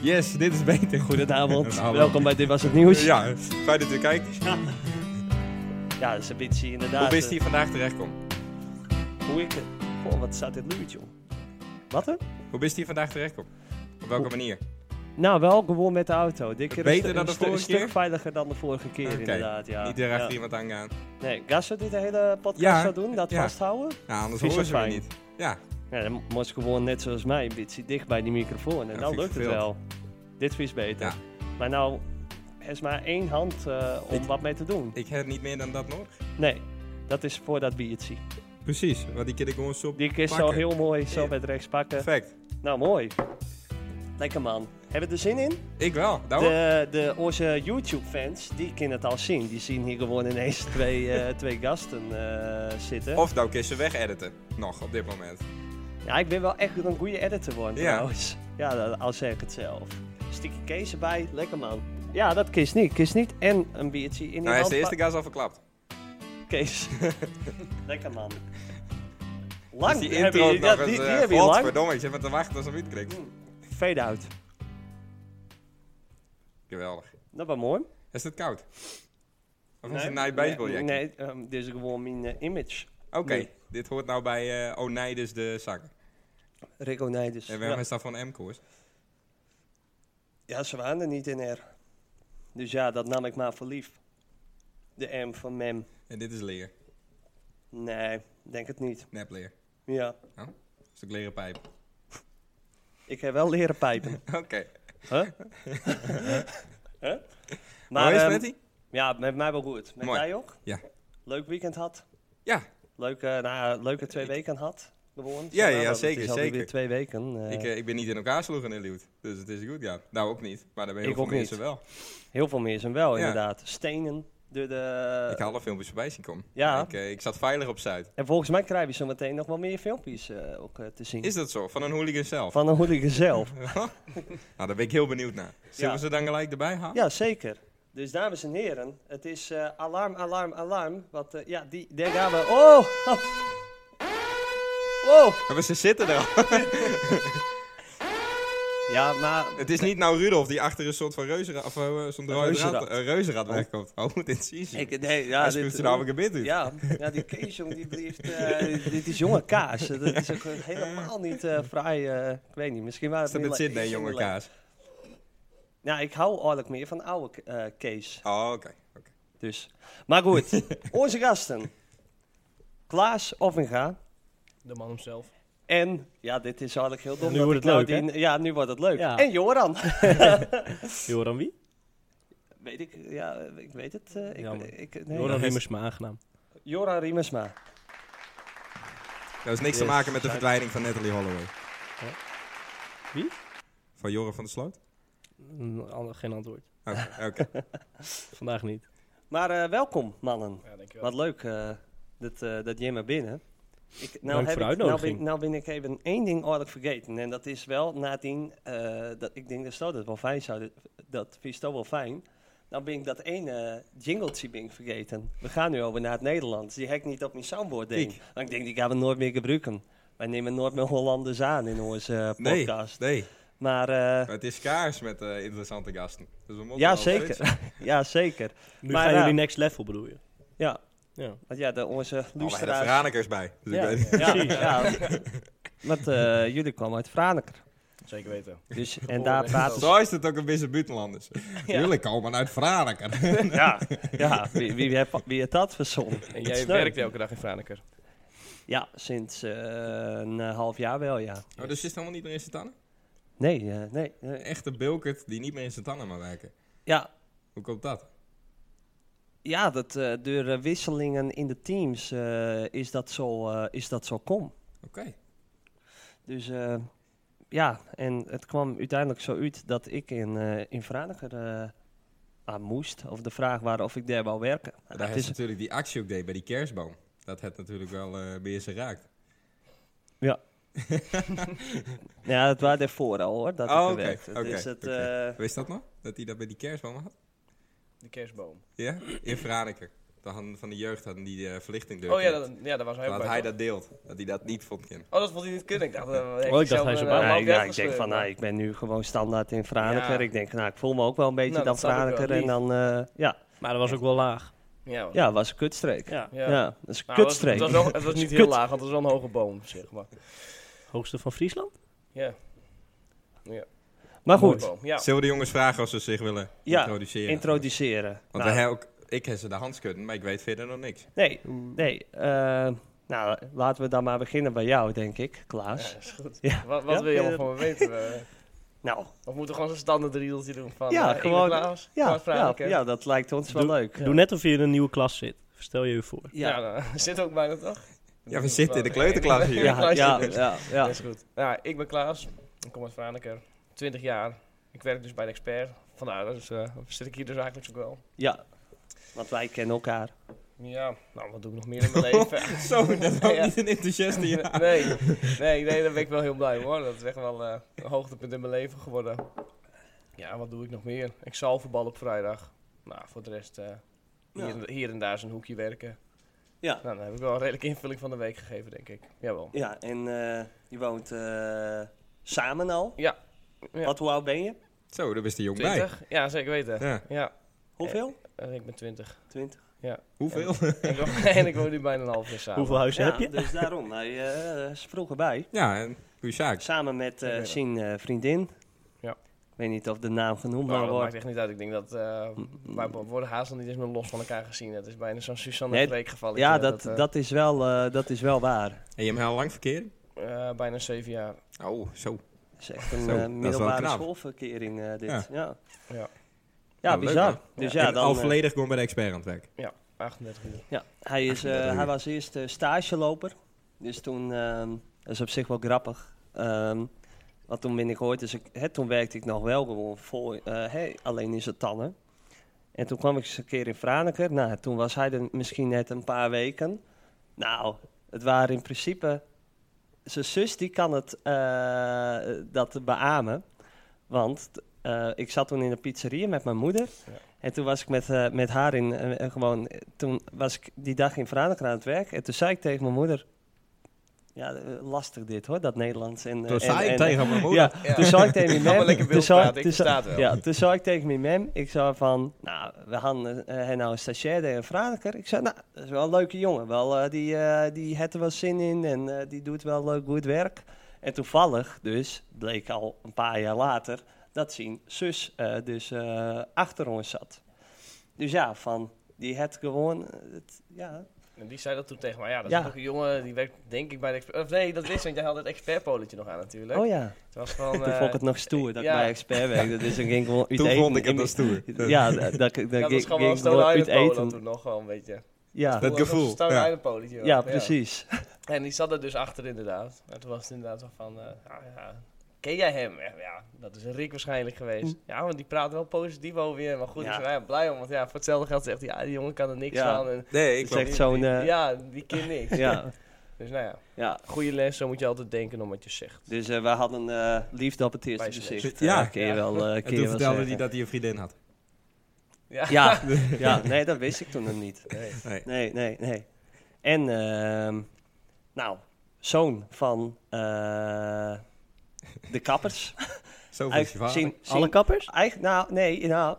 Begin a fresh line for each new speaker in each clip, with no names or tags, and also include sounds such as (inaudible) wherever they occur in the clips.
Yes, dit is beter. (laughs)
Goedenavond,
Hallo.
welkom bij Dit Was Het Nieuws. Ja,
Ja, fijn dat u kijkt.
dat is een beetje inderdaad.
Hoe is
eh,
hier vandaag terechtkomt?
Hoe ik... Goh, wat staat dit luid, joh. Wat hè?
Hoe is hier vandaag terechtkomt? Op welke manier?
Nou, wel gewoon met de auto. Dit keer
Beter
een, stu-
dan
een
de
stu-
vorige
een stuk
keer?
veiliger dan de vorige keer, inderdaad. Ja.
Niet direct
Ja.
iemand aangaan.
Nee, Gasso dit de hele podcast
Ja,
zou doen, dat
ja.
vasthouden.
Nou, anders
Vies
horen
of
ze me
fijn?
niet. Ja,
Ja, dan moest ik gewoon net zoals mij een beetje dicht bij die microfoon. En dan
Ja, vind ik
lukt het wel.
verveeld.
Dit is beter.
Ja.
Maar nou, er is maar één hand eh, om
Ik-
wat mee te doen.
ik heb niet meer dan dat nog.
Nee, dat is voor dat biertje.
Precies, want die kan ik gewoon zo
Die is zo
pakken.
heel mooi, zo
Ja.
met rechts pakken.
Perfect.
Nou, mooi. Lekker man. Hebben we er zin in?
Ik wel, daarom.
De, de, onze YouTube-fans, die kunnen het al zien. Die zien hier gewoon ineens (laughs) twee, eh, twee gasten eh, zitten.
Of nou kun je ze weg-editen. Nog, op dit moment. Nou,
Ja, ik ben wel echt een goede editor worden
Ja.
trouwens. Ja, dat, al zeg ik het zelf. Stukje Kees erbij, lekker man. Ja, dat Kees niet. Kees niet en een biertje in die
Nou, hij is
hand.
de eerste
pa-
gast al verklapt. (laughs)
Kees. lekker man. Lang.
Dus die
heb
intro
je,
nog
ja,
eens,
die, die
eh,
heb je lang. Hmm.
godverdomme, ik zit maar te wachten als een wiet krikt.
Fade out.
Geweldig.
Dat was mooi.
Is het koud? Of is
Nee,
het een night baseball
Nee,
jacket?
nee ehm, dit is gewoon mijn eh, image.
Oké,
Nee.
dit hoort nou bij eh Oneides de zanger.
Rico Nijders.
En
Ja,
waarom is dat van M-koers?
ja, ze waren er niet in R. Dus ja, dat nam ik maar voor lief. De M van Mem.
En dit is leer.
Nee, denk het niet.
Nepleer.
Ja,
Huh? Een stuk leren
(laughs)
pijp.
ik heb wel leren
(laughs)
pijpen.
Oké.
huh? huh?
Hoe is het
ehm,
met die?
Ja, met mij wel goed. Met
Mooi.
jij ook?
Ja.
Leuk weekend had.
Ja,
Leuke, nou, leuke twee weken had. Gewoon.
Ja, ja,
Nou, dat-
zeker,
Het is alweer
zeker.
twee weken. eh,
ik, eh, ik ben niet in elkaar sloegen in Liewt. Dus het is goed, ja. Nou, ook niet. Maar daar ben heel
Ik
veel
ook niet.
mensen wel.
Heel veel meer zijn wel,
Ja.
inderdaad. Stenen. Door de,
ik had alle filmpjes voorbij zien komen.
Eh. Ja.
Ik, eh, ik zat veilig op Zuid.
En volgens mij krijgen we zo meteen nog wel meer filmpjes eh, ook eh, te zien.
Is dat zo? Van een hooligan zelf?
Van een hooligan zelf.
Nou, daar ben ik heel benieuwd naar. Zullen
Ja.
we ze dan gelijk erbij halen?
(laughs) ja, zeker. Dus dames en heren, het is eh, alarm, alarm, alarm. Want eh, ja, die, daar gaan we. Oh! (laughs) Wow!
Maar ze zitten er (laughs) al.
Ja, maar
Het is niet nou Rudolf die achter een soort van reuzenrad, of eh, zo'n rode
reuzenrad.
draad- eh, reuzenrad wegkomt. Oh, moet dit zien.
Ik, nee, ja,
Hij spuugt ze nou een gebit uit.
ja, ja, die Kees, jong, die blijft... eh, dit is jonge kaas. Dat is ook helemaal niet eh vrij... eh, ik weet niet, misschien waren
Is
het...
dat met
middele-
Sydney, jonge
middele-
kaas?
Nou, ik hou eigenlijk meer van oude eh Kees.
Oh, oké. oké.
Dus. Maar
(laughs)
goed, onze gasten. Klaas Offenga
De man hemzelf.
en... Ja, dit is eigenlijk heel dom.
Nu
dat
wordt
ik
het
nou
leuk,
die- Ja, nu wordt het leuk.
Ja.
En Joran. (laughs)
Joran wie?
weet ik, ja, ik weet het. eh,
Jammer.
ik, ik, nee.
Joran
is-
Riemers, mijn aangenaam.
Joran Riemersma.
Dat is niks te
Yes.
maken met de verdwijning van Natalie Holloway.
Wie?
Van Joren van der Sloot? Oh,
Een ander- Geen antwoord.
Oké, oké.
Vandaag niet.
Maar eh, welkom, mannen.
Ja, dankjewel.
Wat leuk eh, dat, eh, dat jij maar binnen. Ik, nou,
Dank voor de
ik, nou, ben,
uitnodiging.
nou ben ik even één ding aardig vergeten. En dat is wel nadien, eh, dat, ik denk dat Sto dat wel fijn zou, dat vindt wel fijn. Nou ben ik dat ene jingletje ben ik vergeten. We gaan nu over naar het Nederlands. Die heb ik niet op mijn soundboard denk.
Ik.
Want ik denk, die gaan we nooit meer gebruiken. Wij nemen nooit meer Hollanders aan in onze eh,
Nee,
podcast.
nee.
Maar
(laughs)
eh,
Het is kaars met eh, interessante gasten. Dus we moeten
ja,
wel switchen.
zeker. ja, zeker.
Nu
Maar,
gaan
eh,
jullie next level bedoel je?
Ja,
Ja.
want ja, de, onze
Oh, we hebben
luisteraars...
Veranekers bij. Dus ik
Ja.
weet niet.
Ja, ja. Want eh, jullie kwamen uit Franeker.
Zeker weten.
Dus, (laughs) en daar praten ze.
Zo is het ook een beetje buitenlanders. Jullie komen uit Veranekers.
Ja, (laughs) ja wie, wie, heeft, wie heeft dat verzonnen?
En
Het
jij
sneu.
werkt elke dag in Franeker.
Ja, sinds eh, een eh, half jaar wel, ja.
(laughs) Oh, dus is het helemaal niet meer in zijn tanden?
Nee, eh, nee. eh,
Een echte bilkert die niet meer in zijn tanden mag werken.
ja,
Hoe komt dat?
ja dat, eh, door eh, wisselingen in de teams eh, is, dat zo, eh, is dat zo kom.
Oké.
Dus eh, ja, en het kwam uiteindelijk zo uit dat ik in, eh in Franeker eh, aan moest. Of de vraag was of ik daar wou werken.
Maar
Het
Daar is natuurlijk die actie ook deed bij die kerstboom. Dat het natuurlijk wel eh bij ze raakt.
Ja, dat waren daarvoor al hoor, dat
Oh,
ik er
oké,
werkte.
oké,
dus het,
oké.
eh,
Wist dat nog? Dat hij dat bij die kerstboom had?
De kerstboom.
Ja? In Franeker. de handen van de jeugd hadden die eh, verlichting
Oh ja,
doorknipt.
dat, ja, daar was hij ook
dat
bij.
hij
toch?
dat deelt. Dat hij dat niet vond, kind.
Oh, dat vond hij niet kunnen. Ik dacht, eh, heeft
dacht
zelf
hij
een,
zo
eh,
bij.
Nou,
half
ik,
recht
ja, ik denk
geschreven.
van, nou, ik ben nu gewoon standaard in Franeker.
Ja.
Ik denk, nou, ik voel me ook wel een beetje
Nou,
dan
dat snap ik wel,
Franeker. En
lief.
dan, eh, ja,
Maar dat was ook wel laag.
Ja, hoor.
ja, was een kutstreek. Ja,
Ja,
dat is een
Nou, het was-
kutstreek.
Het was, wel- het was niet heel
Kut.
laag, want het was wel een hoge boom, zeg maar.
hoogste van Friesland.
Ja,
maar
hoge
goed,
boom, Ja.
Zullen we de jongens vragen als ze zich willen
Ja,
introduceren?
introduceren.
Want
Nou,
we hebben ook, ik heb ze de hand schudden, maar ik weet verder nog
(laughs)
niks.
nee, nee. eh, nou, laten we dan maar beginnen bij jou, denk ik, Klaas.
Ja, is goed.
Ja.
Wat, wat
Ja.
wil je allemaal van me weten? eh?
Nou,
Of moeten we gewoon zo'n standaard riedeltje doen van...
Ja,
eh, Inge
gewoon-
Klaas,
ja,
Klaas
ja,
Franeker.
ja, dat lijkt ons wel leuk.
Doe net of je in een nieuwe klas zit. Stel je je voor.
Ja,
Ja, nou, (laughs) zit ook bijna toch?
Ja, we zitten in de kleuterklas hier.
(laughs) Ja,
ja,
Klaasje
ja,
dus.
ja, ja.
Dat is goed. Nou, ik ben Klaas, ik kom uit Franeker, 20 jaar. Ik werk dus bij de expert. Vandaar, dus, eh, zit ik hier dus eigenlijk ook wel.
Ja, want wij kennen elkaar.
Ja, nou, wat doe ik nog meer in mijn leven?
Zo, dat was
Ja.
niet een
(laughs)
enthousiaste ja.
(laughs) nee, nee, nee, daar ben ik wel heel blij hoor. Dat is echt wel eh, een hoogtepunt in mijn leven geworden. Ja, wat doe ik nog meer? Ik zal voetballen op vrijdag. Nou, voor de rest eh, hier,
Ja.
en- hier en daar zo'n hoekje werken.
Ja.
Nou, dan heb ik wel een redelijke invulling van de week gegeven, denk ik. Jawel.
Ja, en eh, je woont eh, samen al.
Ja. Ja.
Wat, hoe oud ben je?
Zo, daar is de jong bij.
20? Ja, zeker weten.
Ja.
Ja,
Hoeveel?
eh, ik ben 20.
20.
Hoeveel?
en, ik (laughs) woon, en ik woon nu bijna een half jaar samen. Nou,
Hoeveel huizen
ja,
heb je?
dus daarom. Hij eh, sprong erbij.
Ja, en goede zaak.
Samen met eh,
Ja.
zijn eh, vriendin.
Ja.
Ik weet niet of de naam genoemd
Nou,
mag
dat maakt
worden.
echt niet uit. Ik denk dat eh wij worden haast al niet eens meer los van elkaar gezien. Het is bijna zo'n Suzanne
Nee,
en Freek geval.
Ja, dat,
eh,
dat, is wel, eh, dat is wel waar.
En je hebt hem heel lang verkering?
eh, bijna zeven jaar.
Oh, zo.
Dat is echt een eh,
Zo, dat is wel
middelbare
knap.
schoolverkering eh, dit. Ja,
Ja.
ja.
Ja,
Ja, leuk,
bizar.
hè?
dus
Ja,
ja, dan,
al
eh,
volledig gewoon bij de expert aan het werk.
38 uur.
Ja, hij, is, eh,
dat doe je.
hij was eerst eh, stageloper. Dus toen, ehm, dat is op zich wel grappig. Ehm, want toen ben ik ooit, dus ik, hè, toen werkte ik nog wel gewoon vol, eh, hè, alleen in zijn tanden. En toen kwam ik eens een keer in Franeker. Nou, toen was hij er misschien net een paar weken. Nou, het waren in principe... Zijn zus, die kan het, eh, dat beamen. Want eh, ik zat toen in een pizzeria met mijn moeder.
Ja.
En toen was ik met, eh, met haar in, eh, eh, gewoon, eh, toen was ik die dag in Franeker aan het werk. En toen zei ik tegen mijn moeder, ja, eh, lastig dit hoor, dat Nederlands. En, eh,
Toen
en-
zei ik
en-
tegen mijn moeder.
(laughs) Ja,
Ja.
toen zei ik tegen
(laughs) Ga
mijn
maar
mem,
lekker
toen
wild
zei
praten,
toen
ik
zei-
versta het wel.
ja, toen zei ik tegen mijn mem, ik zei van, nou, we gaan eh, eh, hij nou stagiair in Franeker. Ik zei, nou, dat is wel een leuke jongen, wel, eh, die, eh, die heeft er wel zin in en eh, die doet wel leuk goed werk. En toevallig dus, bleek al een paar jaar later, dat zijn zus eh, dus eh, achter ons zat. Dus ja, van, die had gewoon, eh, het, ja,
En die zei dat toen tegen mij. Ja, dat
Ja.
is ook een jongen die werkt denk ik bij de expert. Of nee, dat wist ik, want jij had het expertpolletje nog aan natuurlijk.
oh ja.
Het was van,
Toen
eh,
vond (laughs) ik het nog stoer dat
ja.
ik bij expert werkte, dus dan ging ik
(laughs)
gewoon uit
Toen
eten.
vond ik
In
het
mijn-
als stoer.
Ja, dat, dat, dat,
ja, dat was
ging,
gewoon wel een
ging
Stone
gewoon uit
Island Polo
eten.
toen nog gewoon een beetje.
Ja,
Dat
Toen was het
gevoel,
een Stone
ja.
Island polletje. hoor.
ja, precies.
En die zat er dus achter inderdaad. En toen was het inderdaad zo van, eh, ah, ja, ken jij hem? Ja, Ja, dat is Rick waarschijnlijk geweest. Ja, want die praat wel positief over je. Maar goed,
Ja.
ik ben blij om. Want ja, voor hetzelfde geld zegt hij, ja, die jongen kan er niks
Ja.
van. En
Nee, ik
Het is echt
klopt.
zo'n... eh, ja.
ja, (laughs) die kind
(laughs)
niks.
ja,
Dus nou ja, goede les. Zo moet je altijd denken om wat je zegt.
Dus eh, wij hadden eh, liefde op het eerste
Bij z'n
gezicht.
zes. Ja.
eh, kun je wel, eh, kun
En
je
toen
wel
vertelde hij
zeggen.
dat hij een vriendin had. (laughs)
Ja, ja, nee, dat wist ik toen nog niet.
Nee.
Nee.
Nee, nee, nee. En, ehm, nou, zoon van eh, de kappers.
Zo is je
Eigenlijk
vader.
zien-
Alle
zien- (laughs)
kappers?
Eigen- nou, nee, nou,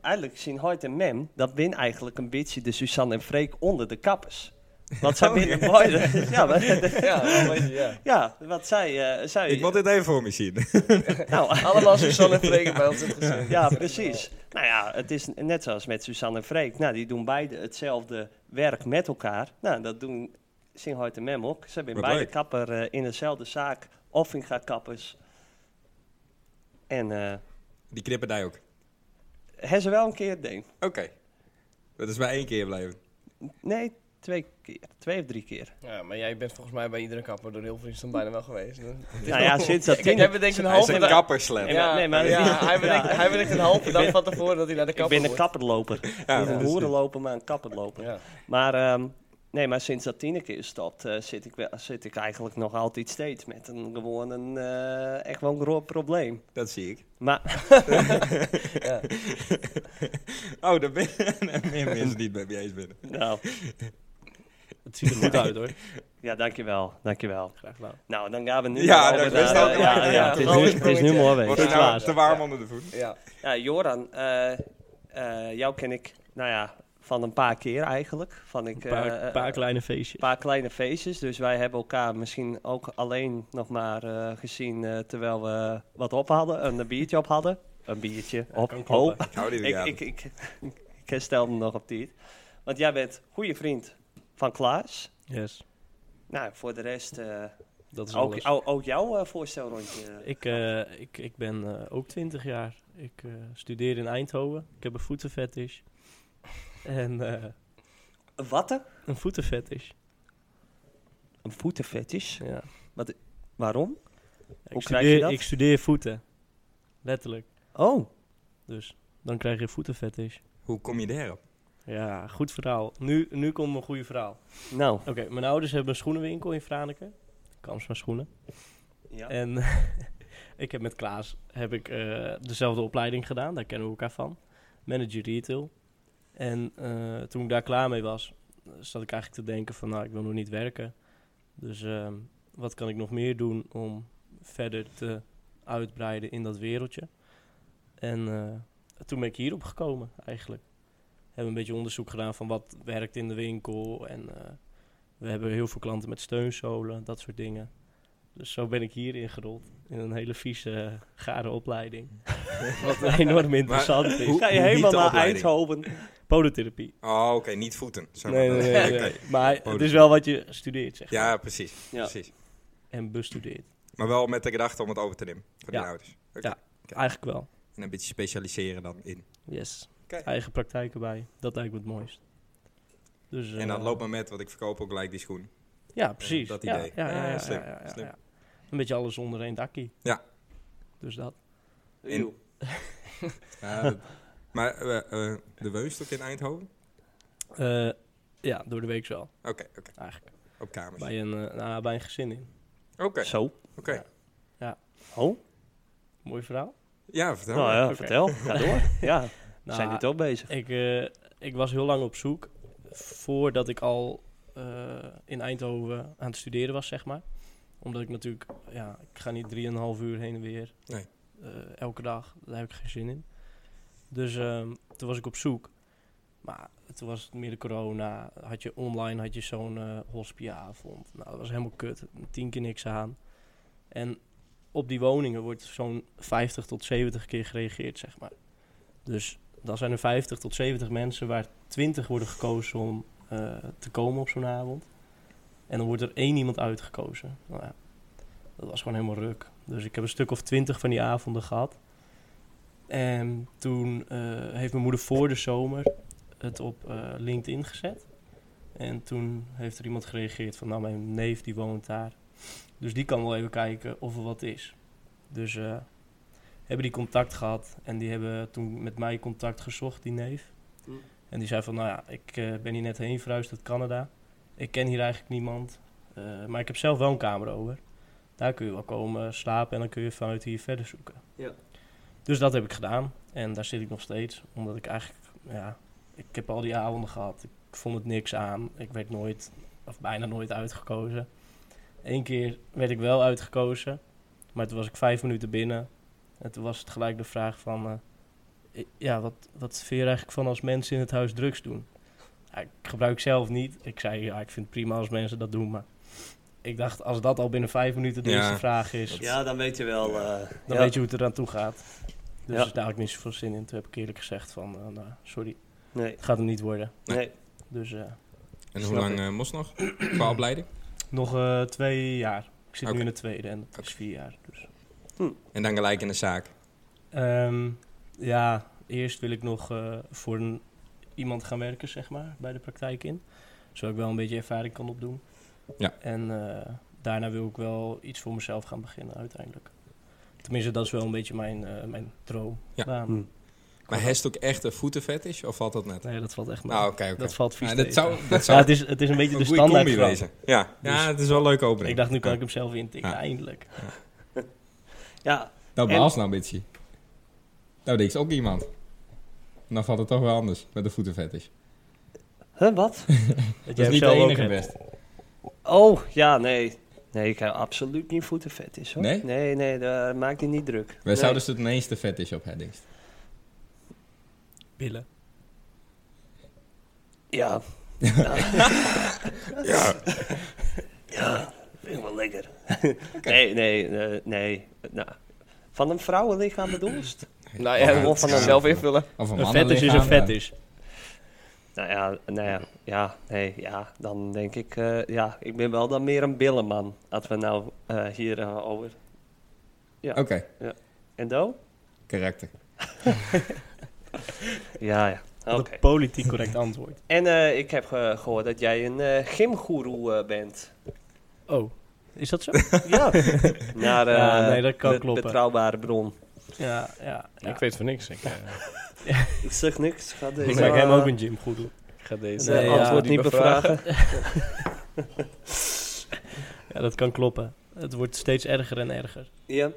eigenlijk zien Hoyt en Mem, dat win eigenlijk een beetje de Suzanne en Freek onder de kappers. Want zij
Oh,
winnen
ja.
Hoyt- (laughs) ja, maar-
(laughs) Ja, wel een beetje, ja.
ja, wat zij... eh zij
Ik moet dit even voor me zien. (laughs)
nou,
Allemaal Suzanne en Freek bij ons in het gezin.
ja, precies. Nou ja, het is net zoals met Suzanne en Freek. Nou, die doen beide hetzelfde werk met elkaar. Nou, dat doen Singhout en Mem ook. Ze hebben
Wat
beide
leuk.
kapper eh, in dezelfde zaak. Offinga kappers. En eh
Die knippen daar ook.
hebben ze wel een keer het ding?
Oké. Dat is maar één keer blijven.
Nee, twee keer. Twee of drie keer.
Ja, maar jij bent volgens mij bij iedere kapper door heel Friesland bijna wel (laughs) geweest. Dus
Nou ja, sinds dat
Kijk,
tien...
jij bedenkt een
Hij is
halve
een
dag...
kapperslap.
Ja. Nee, maar-
ja,
(laughs)
hij, bedenkt,
Ja.
hij bedenkt een halve dag van tevoren dat hij naar de
Ik
kapper
ben een kapperloper.
Ja,
Niet een
dus-
hoerenloper, maar een kapperloper.
moet. Ja.
Maar ehm, Nee, maar sinds dat Tineke is stopt, eh, zit, ik wel, zit ik eigenlijk nog altijd steeds met een gewoon een eh, echt wel een groot probleem.
Dat zie ik. (laughs)
Maar
Oh, daar ben er meer mensen die het met me eens binnen.
nou,
Het ziet er goed uit hoor.
ja, dankjewel, dankjewel.
(laughs) Graag gedaan.
Nou, dan gaan we nu
Ja,
over
dat
naar,
is ook
eh,
een
ja,
lekker-
ja,
(laughs) ja,
het is
het
nu,
is
het is nu
mooi.
mooi
Wordt
geweest.
er
Het is
nou
waar.
te warm onder de voet?
Ja,
Ja, Joran, eh, eh, jou ken ik, nou ja, van een paar keer eigenlijk. Van ik,
Een paar,
eh, eh,
paar kleine feestjes.
een paar kleine feestjes. Dus wij hebben elkaar misschien ook alleen nog maar eh, gezien eh, terwijl we wat op hadden. Een biertje op hadden. Een biertje op.
kan
Oh,
kloppen.
Ik hou die
ik,
weer
ik, ik, ik herstel me nog op tijd. Want jij bent goede vriend van Klaas.
Yes,
Nou, voor de rest, eh,
dat is
ook,
alles.
ook, ook jouw eh, voorstelrondje.
Ik, eh, ik, ik ben eh, ook 20 jaar. Ik eh, studeer in Eindhoven. Ik heb een voetenfetish. En eh,
Een watte?
een voetenfetish.
Een voetenfetish.
Ja.
Waarom? krijg
ik,
je
studeer,
dat?
ik studeer voeten. Letterlijk.
Oh,
Dus dan krijg je voetenfetish.
Hoe kom je daarop?
Ja, goed verhaal. Nu, nu komt mijn goede verhaal.
nou.
Oké, mijn ouders hebben een schoenenwinkel in Franeker. Kams van schoenen.
Ja.
En (laughs) ik heb met Klaas heb ik, eh, dezelfde opleiding gedaan. Daar kennen we elkaar van. Manager retail. En eh, toen ik daar klaar mee was, eh, zat ik eigenlijk te denken van... nou, ik wil nog niet werken. Dus ehm, wat kan ik nog meer doen om verder te uitbreiden in dat wereldje? En eh, toen ben ik hierop gekomen eigenlijk. Hebben een beetje onderzoek gedaan van wat werkt in de winkel. En eh, we hebben heel veel klanten met steunzolen, dat soort dingen. Dus zo ben ik hier ingerold. In een hele vieze, gare
(laughs)
opleiding. Wat (laughs) enorm interessant is.
hoe-
Ga je
hoe heet
helemaal
de
naar
opleiding?
Eindhoven?
Podotherapie.
Oh, oké, niet voeten. Zo
Nee,
maar
nee,
dan.
nee,
Oké.
nee. Maar het is
Podotherapie.
wel wat je studeert, zeg maar.
Ja, precies,
Ja.
precies.
En bestudeert.
Maar wel met de gedachte om het over te nemen voor
Ja.
de ouders. Oké.
Ja. Eigenlijk wel.
En een beetje specialiseren dan in.
Yes.
Oké.
Eigen praktijk erbij. Dat lijkt me het mooist. Dus,
en dan
eh,
loopt maar met, want ik verkoop ook gelijk die schoen.
Ja, precies.
Eh, dat
Ja,
idee.
Ja, ja,
Ja,
ja, ja,
slim,
ja, ja,
slim.
ja. Een beetje alles onder één dakkie.
Ja.
Dus dat.
In-
Joe.
Ja, dat- maar eh, eh, de Weunst ook in Eindhoven?
Eh, ja, door de week wel.
Oké, oké.
Eigenlijk.
Op kamers. Oké,
Bij een, eh, nou, bij een gezin in.
oké.
Zo. Oh,
Mooi verhaal.
Ja, vertel
nou
maar.
ja,
oké.
vertel. Ga (laughs) door. Ja, we
Nou,
zijn nu toch bezig.
Ik, eh, ik was heel lang op zoek voordat ik al eh, in Eindhoven aan het studeren was, zeg maar. Omdat ik natuurlijk, ja, ik ga niet drieënhalf uur heen en weer.
Nee.
Eh, elke dag, daar heb ik geen zin in. Dus ehm, toen was ik op zoek. Maar toen was het midden corona, had je online had je zo'n eh hospiaavond. Nou, dat was helemaal kut. Tien keer niks aan. En op die woningen wordt zo'n 50 tot 70 keer gereageerd, zeg maar. Dus dan zijn er 50 tot 70 mensen waar 20 worden gekozen om eh, te komen op zo'n avond. En dan wordt er één iemand uitgekozen. Nou ja, dat was gewoon helemaal ruk. Dus ik heb een stuk of 20 van die avonden gehad. En toen eh, heeft mijn moeder voor de zomer het op eh, LinkedIn gezet. En toen heeft er iemand gereageerd van, nou mijn neef die woont daar. Dus die kan wel even kijken of er wat is. Dus eh, hebben die contact gehad en die hebben toen met mij contact gezocht, die neef.
Mm.
En die zei van, nou ja, ik eh, ben hier net heen verhuisd uit Canada. Ik ken hier eigenlijk niemand, eh, maar ik heb zelf wel een kamer over. Daar kun je wel komen slapen en dan kun je vanuit hier verder zoeken.
Ja.
Dus dat heb ik gedaan en daar zit ik nog steeds, omdat ik eigenlijk, ja, ik heb al die avonden gehad. Ik vond het niks aan, ik werd nooit, of bijna nooit uitgekozen. Eén keer werd ik wel uitgekozen, maar toen was ik vijf minuten binnen en toen was het gelijk de vraag van... eh, i- ja, wat, wat vind je er eigenlijk van als mensen in het huis drugs doen? Ja, ik gebruik zelf niet. Ik zei, ja, ik vind het prima als mensen dat doen, maar... Ik dacht, als dat al binnen vijf minuten de
Ja.
eerste vraag is,
Ja, dan weet je wel. eh,
dan
ja.
weet je hoe het eraan toe gaat. Dus
Ja.
daar had ik niet zoveel zin in. Toen heb ik eerlijk gezegd van, eh, nou, sorry,
Nee,
het gaat hem niet worden.
nee.
Dus eh,
En hoe
Snap
lang
ik.
eh mos nog? Qua opleiding?
nog eh, twee jaar. Ik zit
Oké.
nu in de tweede en het is vier jaar. Dus.
En dan gelijk in de zaak.
Ehm, ja, eerst wil ik nog eh, voor een, iemand gaan werken, zeg maar, bij de praktijk in. Zodat ik wel een beetje ervaring kan opdoen.
Ja.
En eh, daarna wil ik wel iets voor mezelf gaan beginnen uiteindelijk. Tenminste, dat is wel een beetje mijn, eh, mijn droom.
Ja.
Baan.
Hm.
Ik
Maar heeft ook echt een voetenfetish of valt dat net?
Nee, dat valt echt mee.
Nou, oké, oké.
Dat valt vies
Ja,
tegen.
dat zou, dat
Ja,
zou
het, is, het is een beetje
een
de
goede
standaard.
combi
grap. dus-
wezen. Ja. ja, het is wel een leuke opening.
Ik dacht, nu kan
Ja.
ik hem zelf intikken.
Ja.
Eindelijk.
Ja,
Nou,
En-
behalve nou een beetje. Nou, dit is ook iemand. En dan valt het toch wel anders met de voetenfetish.
huh, wat?
Dat
jij
is
hem
niet de
zelf ook
enige
hebt.
best.
Oh, ja, nee. Nee, ik heb absoluut niet voetenfetish hoor.
Nee?
Nee, nee, daar maak je niet druk.
Wij
Nee.
zouden het ineens de fetish op hebben, Dingst.
Billen.
Ja. ja. ja. vind ik wel lekker. (laughs) Nee, nee, eh, nee. Nou, van een vrouwenlichaam bedoelst?
Nou
Ja,
ja, dat
dat
moet je
kan.
zelf invullen.
Of een
Een fetish is een
mannenlichaam, ja.
fetish.
Nou ja, nou ja, ja, nee, ja, dan denk ik, eh, ja, ik ben wel dan meer een billenman. Als we nou eh, hier eh, over.
Oké,
En do?
karakter.
Ja, ja. Oké.
Wat een politiek correct antwoord.
En eh, ik heb eh, gehoord dat jij een eh gymgoeroe eh,
(laughs)
bent.
Oh, is (laughs) dat zo?
ja. Naar, eh
Ja, nee, dat kan
be-
kloppen.
Betrouwbare bron.
ja, ja. ja.
Ik weet van niks. Ik, eh,
Ik zeg niks. Ga deze,
Ik maak hem
eh,
ook een gym goed doen.
ik ga deze eh,
Nee,
Nee, ja,
antwoord
die
niet bevragen.
Ja, dat kan kloppen. Het wordt steeds erger en erger.
Ja.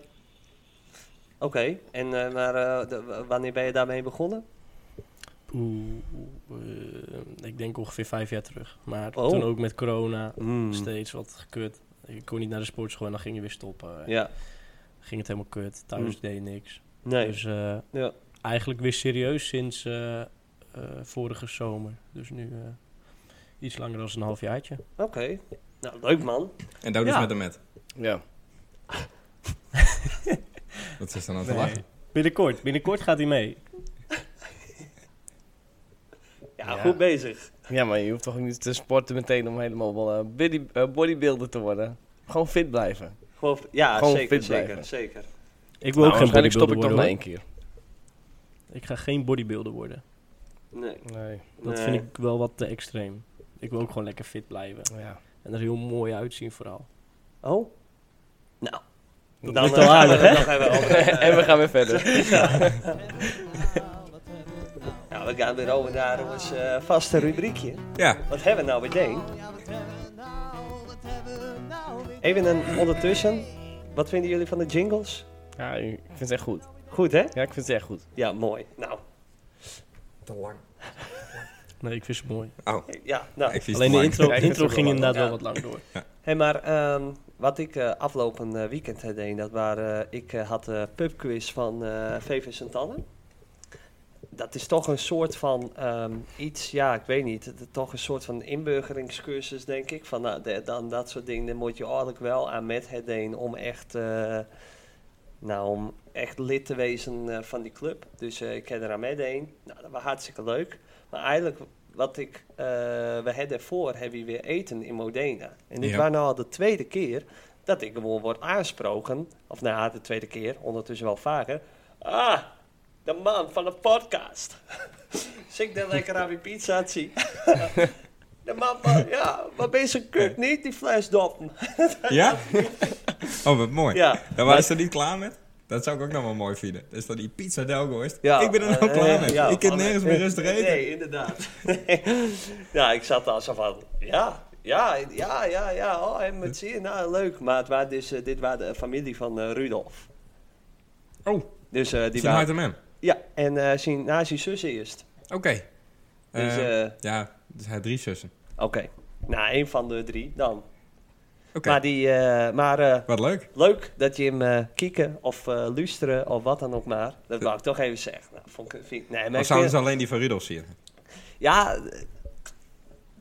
Oké, en eh, maar eh, de- w- wanneer ben je daarmee begonnen?
Oeh, eh, ik denk ongeveer vijf jaar terug. Maar
Oh.
toen ook met corona
Mm.
steeds wat gekut. Ik kon niet naar de sportschool en dan ging je weer stoppen.
Ja,
Ging het helemaal kut. Thuis
Mm.
deed je niks.
nee.
Dus eh,
Ja.
eigenlijk weer serieus sinds eh, eh, vorige zomer. Dus nu eh, iets langer dan een halfjaartje.
Oké. Nou, leuk man.
En dat dus
Ja.
met een met.
Ja.
Dat is dan aan te lachen.
Binnenkort, binnenkort gaat hij mee.
Ja,
Ja.
goed bezig.
ja, maar je hoeft toch ook niet te sporten meteen om helemaal eh, body- eh, bodybuilder te worden. Gewoon fit blijven.
Gewoon, f- ja,
Gewoon
zeker,
fit
zeker,
blijven.
zeker.
Ik wil
Nou,
ook geen
waarschijnlijk
bodybuilder
stop ik
worden.
toch na
hoor.
één keer.
Ik ga geen bodybuilder worden.
Nee.
Nee.
Dat
nee.
vind ik wel wat te extreem. Ik wil ook gewoon lekker fit blijven.
Ja.
En er heel mooi uitzien vooral.
Oh? Nou.
Dat
dan,
lukt
eh,
al
gaan
aardig,
we
hè?
nog even
(laughs)
over-
(laughs) en we gaan weer verder.
Nou, we gaan weer over naar ons eh, vaste rubriekje.
Ja,
Wat hebben we nou weer deed? Even een ondertussen. Wat vinden jullie van de jingles?
Ja, ik vind het echt goed.
Goed, hè?
Ja, ik vind het echt goed.
Ja, mooi. Nou,
Nee, ik vind ze mooi.
ja, nou.
ik vies
Alleen de intro,
Kijk,
intro
dat is
ging
ook
inderdaad
wel
wel
wat
wat lang door.
Hé, maar ehm, wat ik eh, afgelopen eh, weekend eh, deed, dat waren, eh, ik eh, had de pubquiz van eh, VV Sint-Anne. Dat is toch een soort van ehm, iets, ja, ik weet niet, het- het- toch een soort van inburgeringscursus, denk ik. Van, nou, de- dan dat soort dingen, daar moet je eigenlijk wel aan met het deen om echt, eh, nou, om echt lid te wezen eh, van die club. Dus eh, ik heb eraan meedeen. Nou, dat was hartstikke leuk. Maar eigenlijk wat ik, eh, we hadden voor, hebben we weer eten in Modena. En dit
Ja.
was nou al de tweede keer dat ik gewoon word aangesproken. Of nou ja, de tweede keer, ondertussen wel vaker. Ah, de man van de podcast. (laughs) Zit ik daar lekker aan mijn pizza te
(laughs)
zien. de man van, ja, maar ben je zo kut niet, die flesdoppen.
(laughs) Ja? Oh, wat mooi.
Ja,
Daar waren ze niet klaar met? Dat zou ik ook nog wel mooi vinden. Dus dat die pizza Delgo is.
Ja,
ik ben er
eh,
nog klaar
eh,
mee.
ja,
ik kan
man,
nergens
eh,
meer rustig eten.
Nee, inderdaad. (laughs) ja, ik zat daar zo van, ja, ja, ja, ja, ja. Oh, en met zie je, nou leuk. Maar het waren dus, eh, dit was de familie van eh, Rudolf.
Oh,
Dus eh, die
die hard
waren...
hem.
Ja, en eh zijn, na zijn zus eerst.
Oké.
Dus,
Eh,
eh,
ja, dus hij had drie zussen.
oké. Nou, één van de drie dan.
Oké,
Maar, die, eh, maar eh,
wat leuk.
leuk dat je hem eh kieken of eh, luisteren of wat dan ook maar. Dat wou ik toch even zeggen. Nou, vond ik, vind, nee, maar
Dan
ik
zouden
vind-
ze alleen die van Rudolf zien.
Ja, eh,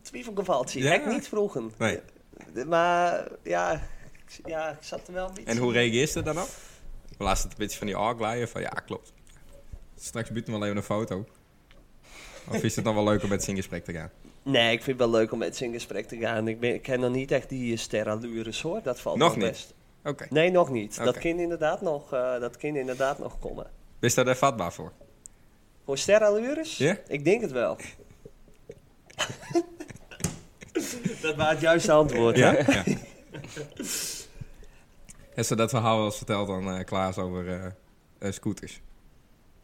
twijfelgevaltje.
Ja?
Ik niet vroegen.
Nee.
Eh, Maar ja, ik- ja, ik zat er wel een beetje...
En hoe reageert ze dan op? We laten het een beetje van die arglaaien van ja, klopt. Straks biedt hem wel even een foto. Of is het dan wel leuk om met zijn gesprek te gaan?
Nee, ik vind het wel leuk om met ze in gesprek te gaan. Ik, ben, ik ken nog niet echt die eh, sterallures hoor. Dat valt
Nog
nog
niet?
best.
Oké.
Nee, nog niet. Dat
Oké.
kind inderdaad nog, eh, dat kind inderdaad nog komen.
Is daar daar vatbaar voor?
Voor sterallures?
Ja?
Ik denk het wel. (laughs) dat was het juiste antwoord. hè?
Ja. En ze dat verhaal wel eens verteld aan eh, Klaas over eh, eh, scooters.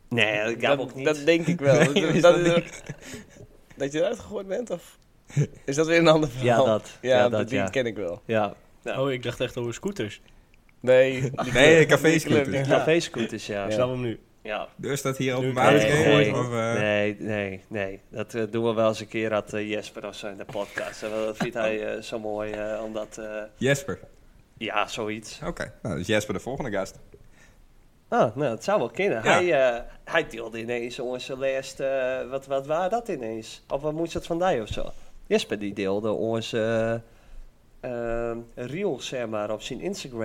Nee, dat
dat,
gab ook niet.
dat denk ik
(laughs)
wel.
Nee,
dat,
is
(laughs) dat-
dat
dat je eruit gegooid bent, of is dat weer een ander
ja,
verhaal?
dat.
Ja,
Ja,
dat,
dat,
die
ja.
ken ik wel.
Ja. Ja.
Oh, ik dacht echt over scooters.
(laughs)
Nee, die
Nee,
club-
café-scooters.
die club,
dus.
ja.
Café-scooters, ja.
Ik snap hem nu.
ja.
Dus dat hier
Nu
openbaar is
krijg ik
gegooid?
het.
of, eh,
Nee, nee, nee. Dat eh, doen we wel eens een keer aan eh, Jesper of zo in de podcast. En dat vindt hij eh, zo mooi, eh, omdat... eh,
Jesper.
ja, zoiets.
Oké, nou, dus Jesper de volgende gast.
Ah, nou, dat zou wel kunnen.
Ja.
Hij, eh, hij deelde ineens onze lijst... eh, wat, wat waren dat ineens? Of wat moest dat vandaan of zo? Jesper die deelde onze eh, eh, reels, zeg maar, op zijn Instagram.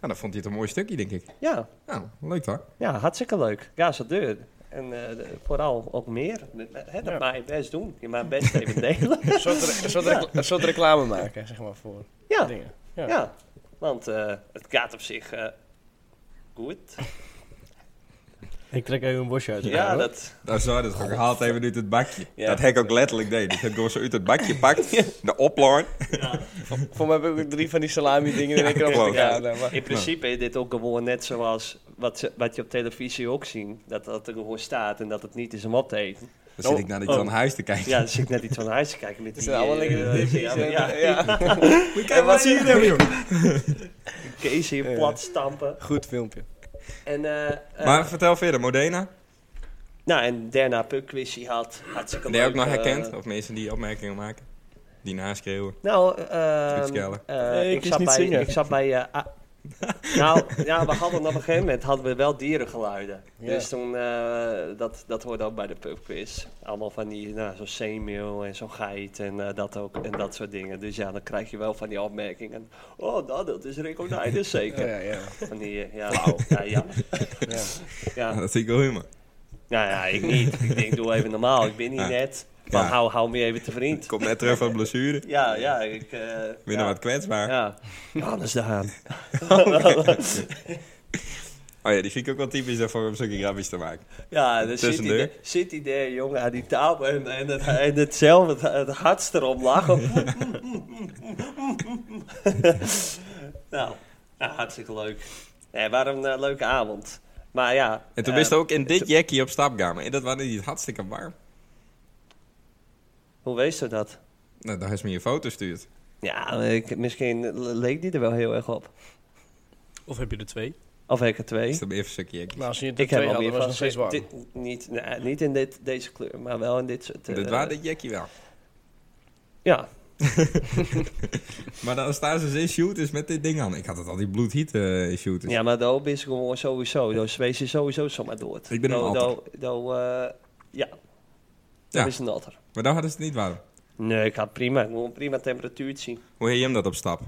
Nou, dan vond hij het een mooi stukje, denk ik.
Ja,
Nou, leuk hoor.
ja hartstikke leuk. Ja, zo deur. En eh, de- vooral ook meer. Hè, dat
Ja.
mag je best doen. Je mag best even (laughs) delen.
(laughs) Een soort, re- een soort recla- een soort reclame maken, zeg maar, voor
ja,
dingen.
Ja, want eh, het gaat op zich eh, goed.
Ik trek even een bosje uit.
Ja, dat...
Dan zou dat gewoon gehaald hebben uit het bakje.
Ja.
Dat heb ik ook letterlijk deed. Ik heb gewoon zo uit het bakje pakt, de oploor.
Voor mij heb ik ook drie van die salami-dingen in één keer
ik
op
geloof
elkaar.
het.
nou, maar-
In principe is dit ook gewoon net zoals wat, ze- wat je op televisie ook ziet. Dat dat er gewoon staat en dat het niet is om op te eten.
Dan zit ik naar dat je
Oh.
aan huis te kijken. (laughs)
Ja, dan zit ik net iets van huis te kijken (laughs) met die...
Het zijn allemaal
eh,
lekkere
eh,
dingetjes
ja,
en,
ja,
eh, ja.
(laughs)
En wat zie je nou, joh?
Kees hier
Ja.
plat stampen.
Goed filmpje.
En, eh, eh,
Maar vertel verder, Modena.
nou, en daarna Pukquizzie had hartstikke
Ben je
leuk,
ook nog
eh,
herkend? Of mensen die opmerkingen maken? Die naschreeuwen.
Nou, ehm,
Goed schellen.
eh,
Nee, ik
ik,
is
zat
niet
bij,
zingen.
ik zat bij. eh,
(laughs)
A- nou, ja, we hadden op een gegeven moment hadden we wel dierengeluiden.
Ja.
Dus toen, eh, dat, dat hoorde ook bij de pubquiz. Allemaal van die, nou, zo'n zeemeel en zo'n geit en eh, dat ook en dat soort dingen. Dus ja, dan krijg je wel van die opmerkingen. Oh, nou, dat is Rico Nijders
Ja,
zeker.
ja, ja.
Van die, eh, ja, nou, ja, ja,
ja.
Ja,
ja.
dat zie ik wel humor.
Nou ja, ik niet. Ik denk, doe even normaal. Ik ben hier
Ja.
net. Van,
Ja.
hou, hou me even te vriend.
Komt net terug van blessure.
Ja, ja, ik... eh,
Weer
ja.
nog wat kwetsbaar. (laughs)
Ja, anders (laughs) daaraan.
Oh ja, die vind ik ook wel typisch daarvoor om zulke grapjes te maken.
ja, dan zit hij,
Tussendeur.
daar- zit hij daar, jongen, aan die tafel en, en, het, en hetzelfde, het, het hardst erom lachen. (laughs) nou, nou, hartstikke leuk. Nee, waar een eh, leuke avond. Maar ja...
En toen
eh,
wist je ook in dit jackie op stap gaan. En dat was niet hartstikke warm.
Hoe wees je dat?
Nou, daar is me je foto stuurt.
Ja, ik, misschien leek die er wel heel erg op.
Of heb je er twee?
Of ik er twee.
Is dat even een stukje jackie.
Nou, als je het
Ik
ik
heb
twee
al
hadden,
meer
was het
van
nog steeds warm.
dit- niet, nee, niet in dit, deze kleur, maar wel in dit soort... eh,
Dit was dit jackie wel.
Ja,
Maar dan staan ze in shooters met dit ding aan. Ik had het al die bloedheat eh shooters.
Ja, maar daar is gewoon sowieso. Daar zwees je sowieso zomaar door.
Ik ben een
Daar-
alter.
daar- daar, eh, ja, dat
Ja.
is een alter.
Maar dan hadden ze het niet warm.
Nee, ik had prima. Ik moet een prima temperatuur zien.
Hoe heet je hem dat op stap?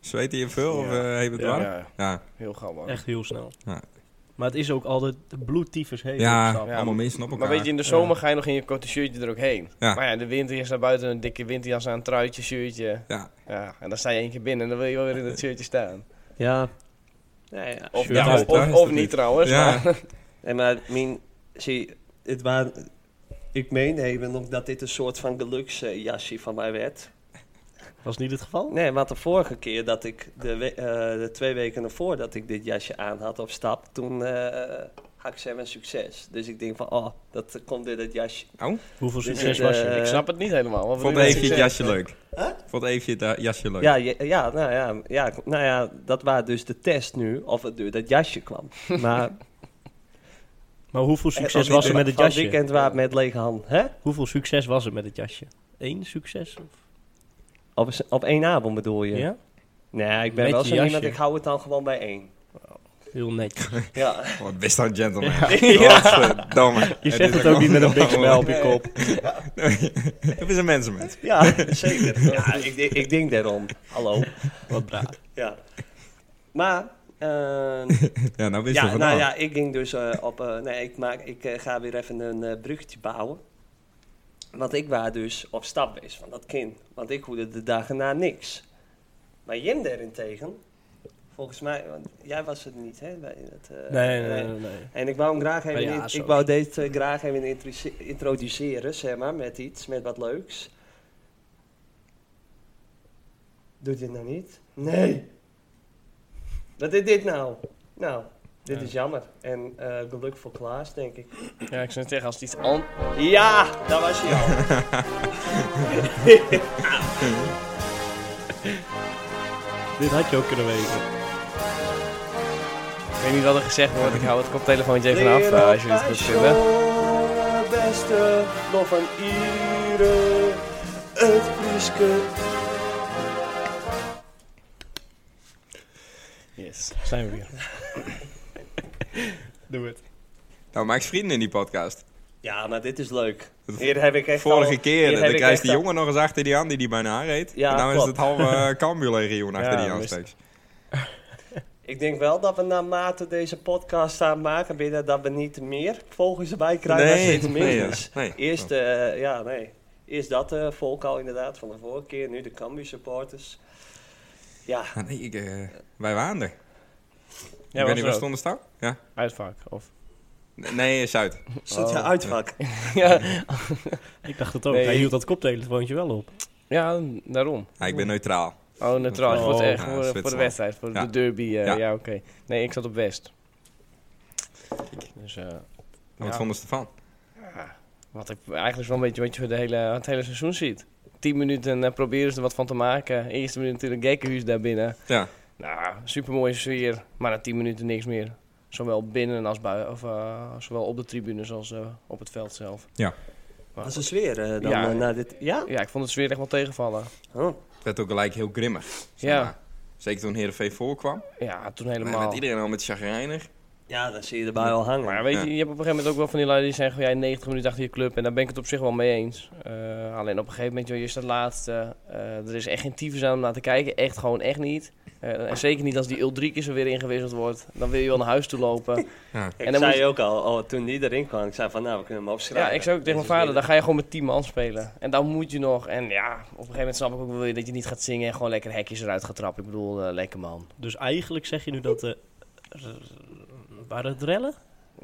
Zweet hij hem veel of
Ja.
eh heeft het
Ja,
warm?
ja,
Ja,
heel gauw warm.
Echt heel snel.
Ja.
Maar het is ook altijd de bloedtyfus heet.
ja,
op stap.
Ja,
allemaal
maar-
mensen op elkaar.
Maar weet je, in de zomer ga je nog in je korte shirtje er ook heen.
Ja.
Maar ja, de winter is naar buiten een dikke winterjas aan, een truitje, shirtje.
Ja.
Ja, en dan sta je één keer binnen en dan wil je wel weer in dat shirtje staan.
Ja. Nee, ja.
Of,
Shirt
ja,
is-
of,
daar is
of
het
niet
niet.
trouwens.
Ja.
maar-
Nee, maar mijn, zie, het waren, ik meen even ook dat dit een soort van geluksjasje van mij werd.
Was niet het geval?
Nee, want de vorige keer dat ik, de, we- eh, de twee weken ervoor dat ik dit jasje aan had op stap, toen eh had ik ze mijn succes. Dus ik denk van, oh, dat komt in het jasje.
Oh,
Hoeveel
Dus
succes
het,
was
eh,
je?
ik snap het niet helemaal. wat
vond
bedoel je
Eefje het
met
jasje
succes?
leuk? Vond Eefje het eh, jasje leuk?
Ja, ja, ja, nou ja, ja, ik- nou ja, dat was dus de test nu, of het door dat jasje (laughs) kwam. Maar
Maar hoeveel
was
succes
niet
was er
leuk.
met het
van
jasje?
weekend waar het met lege hand, hè?
Hoeveel succes was er met het jasje? Eén succes? Of?
Op, s- op één avond bedoel je?
Ja?
Nee, ik ben
Met
wel
je
zo iemand,
jasje.
ik hou het dan gewoon bij één.
Heel netjes.
(laughs) Ja,
Wat best een gentleman.
(laughs) Ja.
Godverdomme.
Je
is
zegt het ook niet met een big smile op je
Nee.
kop.
Het is een mensenmens.
(laughs) ja zeker. Ja, ik, denk- ik denk daarom. Hallo.
Wat braaf.
(laughs) Ja. Maar, eh,
Ja, nou wist je
ja, nou
van nou,
ja, ik ging dus eh, op, eh, nee, ik, maak, ik eh, ga weer even een eh, bruggetje bouwen. Want ik was dus op stap geweest van dat kind. Want ik hoorde de dagen na niks. Maar Jim daarentegen, volgens mij, want jij was het niet, hè? bij dat, eh,
Nee, nee, nee. nee.
En ik wou hem graag even,
Ja,
in- ik
zo.
wou dit eh, graag even introduce- introduceren, zeg maar, met iets, met wat leuks. Doet dit nou niet? Nee. Wat is dit nou? Nou, Dit
Ja.
is jammer. En eh, geluk voor Klaas, denk ik.
Ja, ik zou zeggen, als het iets anders...
Ja, daar was hij al.
Dit had je ook kunnen weten.
Ik weet niet wat er gezegd wordt, ik hou het koptelefoontje even af,
Leren
eh, als jullie het goed vinden.
passion, beste nog van iedereen. Het Frieske.
Yes.
Zijn we weer.
Doe het.
Nou, maak eens vrienden in die podcast.
Ja, maar dit is leuk.
Dat-
Hier heb ik echt
Vorige
al- hier
keer,
heb
dan
ik
krijgt
echt
die
al-
jongen nog eens achter die aan die die bijna aanreed.
Ja,
en nou is
klopt.
het halve uh, Cambuur-legioen achter
Ja,
die
dat is-
aansteeks.
Ik denk wel dat we naarmate deze podcast aan maken binnen, dat we niet meer volgers erbij krijgen als
Nee,
het meer
nee, ja.
is.
nee.
Eerst, eh, ja, nee. Eerst dat eh, volk al inderdaad van de vorige keer, nu de Cambuur supporters. Ja,
Ah, nee, ik, eh, wij waren er.
Ja,
ik weet
was
niet,
er
waar
ook.
stonden staan? Ja.
Uitvak, of...
N- Nee, Zuid.
zit je
Oh.
uitvak.
(laughs) ja,
(laughs)
Ik dacht het ook.
Nee.
Hij hield dat koptelefoontje wel op.
ja, daarom.
Ah, ik ben neutraal.
Oh, neutraal,
Oh,
voor, het, eh,
ja,
voor, voor de
Zwitserland.
wedstrijd, voor
Ja.
de derby. eh,
Ja.
ja, oké. Nee, ik zat op West. Dus, eh,
Wat
Ja.
vonden ze ervan?
Wat ik eigenlijk wel een beetje wat je voor de hele, het hele seizoen ziet. 10 minuten eh, proberen ze er wat van te maken. Eerste minuut natuurlijk gekkenhuis daarbinnen.
Ja.
Nou, supermooie sfeer. Maar na 10 minuten niks meer. Zowel binnen als buiten. Of eh, zowel op de tribunes als eh, op het veld zelf.
Ja.
Maar
Dat is een sfeer eh, dan
Ja.
eh, na dit... Ja?
goed. ja, ik vond het sfeer echt wel tegenvallen.
Oh.
Het werd ook gelijk heel grimmig. zeg
Ja.
maar. Zeker toen Heerenveen voorkwam.
Ja, toen
Helemaal.
helemaal.
Met iedereen al met chagrijnig.
Ja, dan zie je erbij al hangen.
Maar weet
Ja.
je, je hebt op een gegeven moment ook wel van die lui die zeggen... Ja, 90 minuten achter je club. En daar ben ik het op zich wel mee eens. Eh, alleen op een gegeven moment, joh, je staat laatste. Eh, er is echt geen tyfus aan om naar te kijken. Echt gewoon, echt niet. Eh, en zeker niet als die Ulrike er weer ingewisseld wordt. Dan wil je wel naar huis toe
(laughs)
lopen.
ik
en dan
zei
moet-
ook al, oh, toen die erin kwam, ik zei van nou, we kunnen hem opschrijven.
ja, ik zei ook tegen
Dit
mijn
is
vader,
weer-
dan ga je gewoon met 10 man spelen. En dan moet je nog. En ja, op een gegeven moment snap ik ook wel weer dat je niet gaat zingen... en gewoon lekker hekjes eruit gaat trappen. Ik bedoel, eh, lekker man.
Dus eigenlijk zeg je nu dat... eh, r- waren het rellen?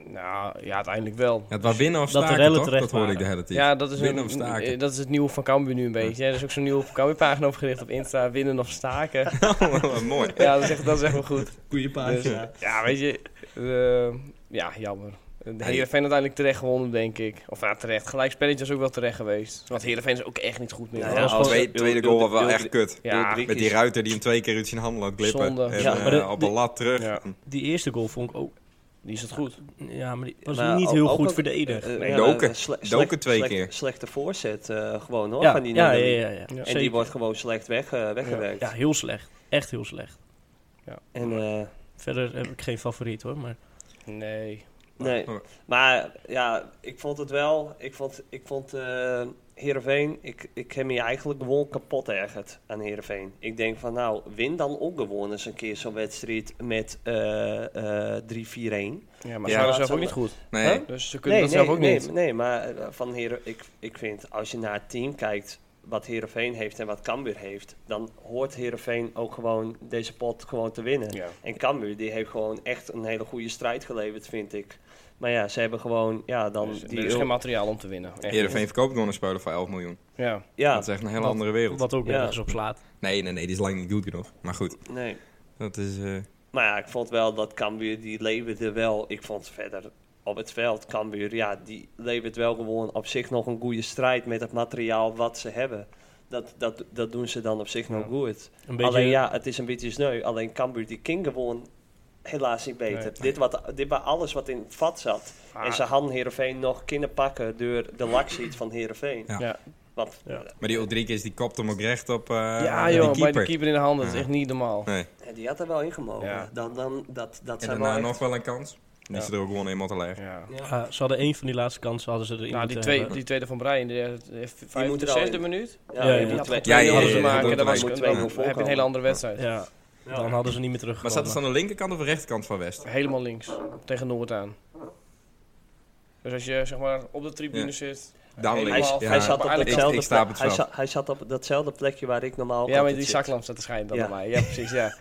Nou, ja, uiteindelijk wel.
Ja, het was winnen of
Dat de
staken,
rellen
toch?
terecht
Dat hoorde ik de
waren.
hele tijd.
Ja, dat is,
Winnen
een-
of staken?
eh, dat is het nieuwe van Cambuur nu een beetje. Er is ook zo'n nieuwe van Cambuur pagina opgericht op Insta. Winnen of
(laughs)
staken.
(laughs) Wat Mooi.
Ja, dat is echt, dat is echt wel
(laughs)
goed.
Goeie
Dus, ja, weet je. eh, ja, jammer. De Heerenveen uiteindelijk terecht gewonnen, denk ik. Of ja, terecht. Gelijk spelletje was ook wel terecht geweest. Want Heerenveen is ook echt niet goed meer.
Ja,
Ja,
ja, als-
tweede, tweede goal was wel echt kut.
ja,
Met die ruiter die hem twee keer uit zijn handen laat glippen.
Zonde.
En
Ja,
eh,
maar de-
op
de-
een lat terug.
Ja.
Die eerste goal vond ik ook...
die is het goed.
Ja, maar die was
Maar
niet
Nou, ook-
heel
ook
goed
een-
verdedigd.
Eh,
Nee,
ja,
Doken.
eh, sle-
Doken
slecht-
twee
slecht-
keer.
Slechte voorzet eh, gewoon hoor,
ja,
van die
ja,
Nederlander.
ja, ja, ja.
En
En
Zeker.
die wordt gewoon slecht weg, eh, weggewerkt.
Ja, heel slecht. Echt heel slecht.
En, eh,
Verder heb ik geen favoriet hoor, maar...
Nee.
nee.
Maar-
Maar ja, ik vond het wel. Ik vond, ik vond eh Heerenveen. Ik, ik heb me eigenlijk gewoon kapot ergerd aan Heerenveen. Ik denk van nou, win dan ook gewoon eens een keer zo'n wedstrijd met eh, eh, 3-4-1.
Ja, maar
Ja.
ze waren zelf
Zonde.
ook niet goed.
Nee,
Huh?
Dus ze kunnen dat zelf ook
nee,
niet.
Nee, maar eh, van Heren, ik, ik vind als je naar het team kijkt wat Herenveen heeft en wat Cambuur heeft, dan hoort Herenveen ook gewoon deze pot gewoon te winnen.
Ja.
En Cambuur die heeft gewoon echt een hele goede strijd geleverd, vind ik. Maar ja, ze hebben gewoon ja dan
Dus,
die
er is geen
ul-
materiaal om te winnen. Echt.
Heerenveen verkoopt gewoon een speler voor 11 miljoen.
Ja.
ja
Dat is echt een hele
Wat-
andere wereld.
Wat ook
Ja.
nergens op slaat.
Nee, nee, nee, die is lang niet goed genoeg. Maar goed,
eh,
nee.
dat is... eh,
Maar ja, ik vond wel dat Cambuur die leverde wel. Ik vond verder op het veld Cambuur, ja, die levert wel gewoon op zich nog een goede strijd met het materiaal wat ze hebben. Dat, dat, dat doen ze dan op zich nog
Ja.
goed.
Een beetje...
Alleen ja, het is een beetje sneu. Alleen Cambuur die King gewoon helaas niet beter.
Nee.
Dit, wat, dit was alles wat in het vat zat.
Ah.
En ze hadden Heerenveen nog kunnen pakken door de laksiet van Heerenveen.
Ja.
Ja.
Want
Ja.
Maar die Ulrike die kopt hem ook recht op eh
ja,
die
joh, bij
keeper.
de keeper in de handen. Dat
Ja.
is echt niet normaal.
Nee.
eh, die had er wel in gemogen.
Ja.
Dan, dan, dat, dat
En
zijn wel
daarna
echt-
nog wel een kans. Die
Ja.
is er ook gewoon in moeten leggen.
Ja.
Ja.
Ja, ze hadden één van die laatste kansen hadden ze erin
Nou, die,
moeten
twee,
hebben.
die tweede van Brian, die eh,
er al
65e
in.
minuut.
eh, Ja,
Ja,
je
ja.
moet twee-
Ja, ja, ja,
hadden
ja,
ze
ja,
maken.
ja,
Dat was
ja,
ja,
dan
ja, ja,
heb je een hele andere wedstrijd.
Ja,
Ja.
dan hadden ze niet meer terug.
Maar zaten ze aan de linkerkant of de rechterkant van West?
Helemaal links, tegen Noord aan. Dus als je zeg maar op de tribune
Ja.
zit.
Dan
helemaal
Hij,
links.
af-
Ja.
hij zat op
maar eigenlijk-
datzelfde
ik sta op het
plek- hij
veld.
zat- Hij zat op datzelfde plekje waar ik normaal
Ja, maar
altijd
die
zit.
zaklamp staat te schijnen dan
Ja.
bij mij. Ja, precies, ja.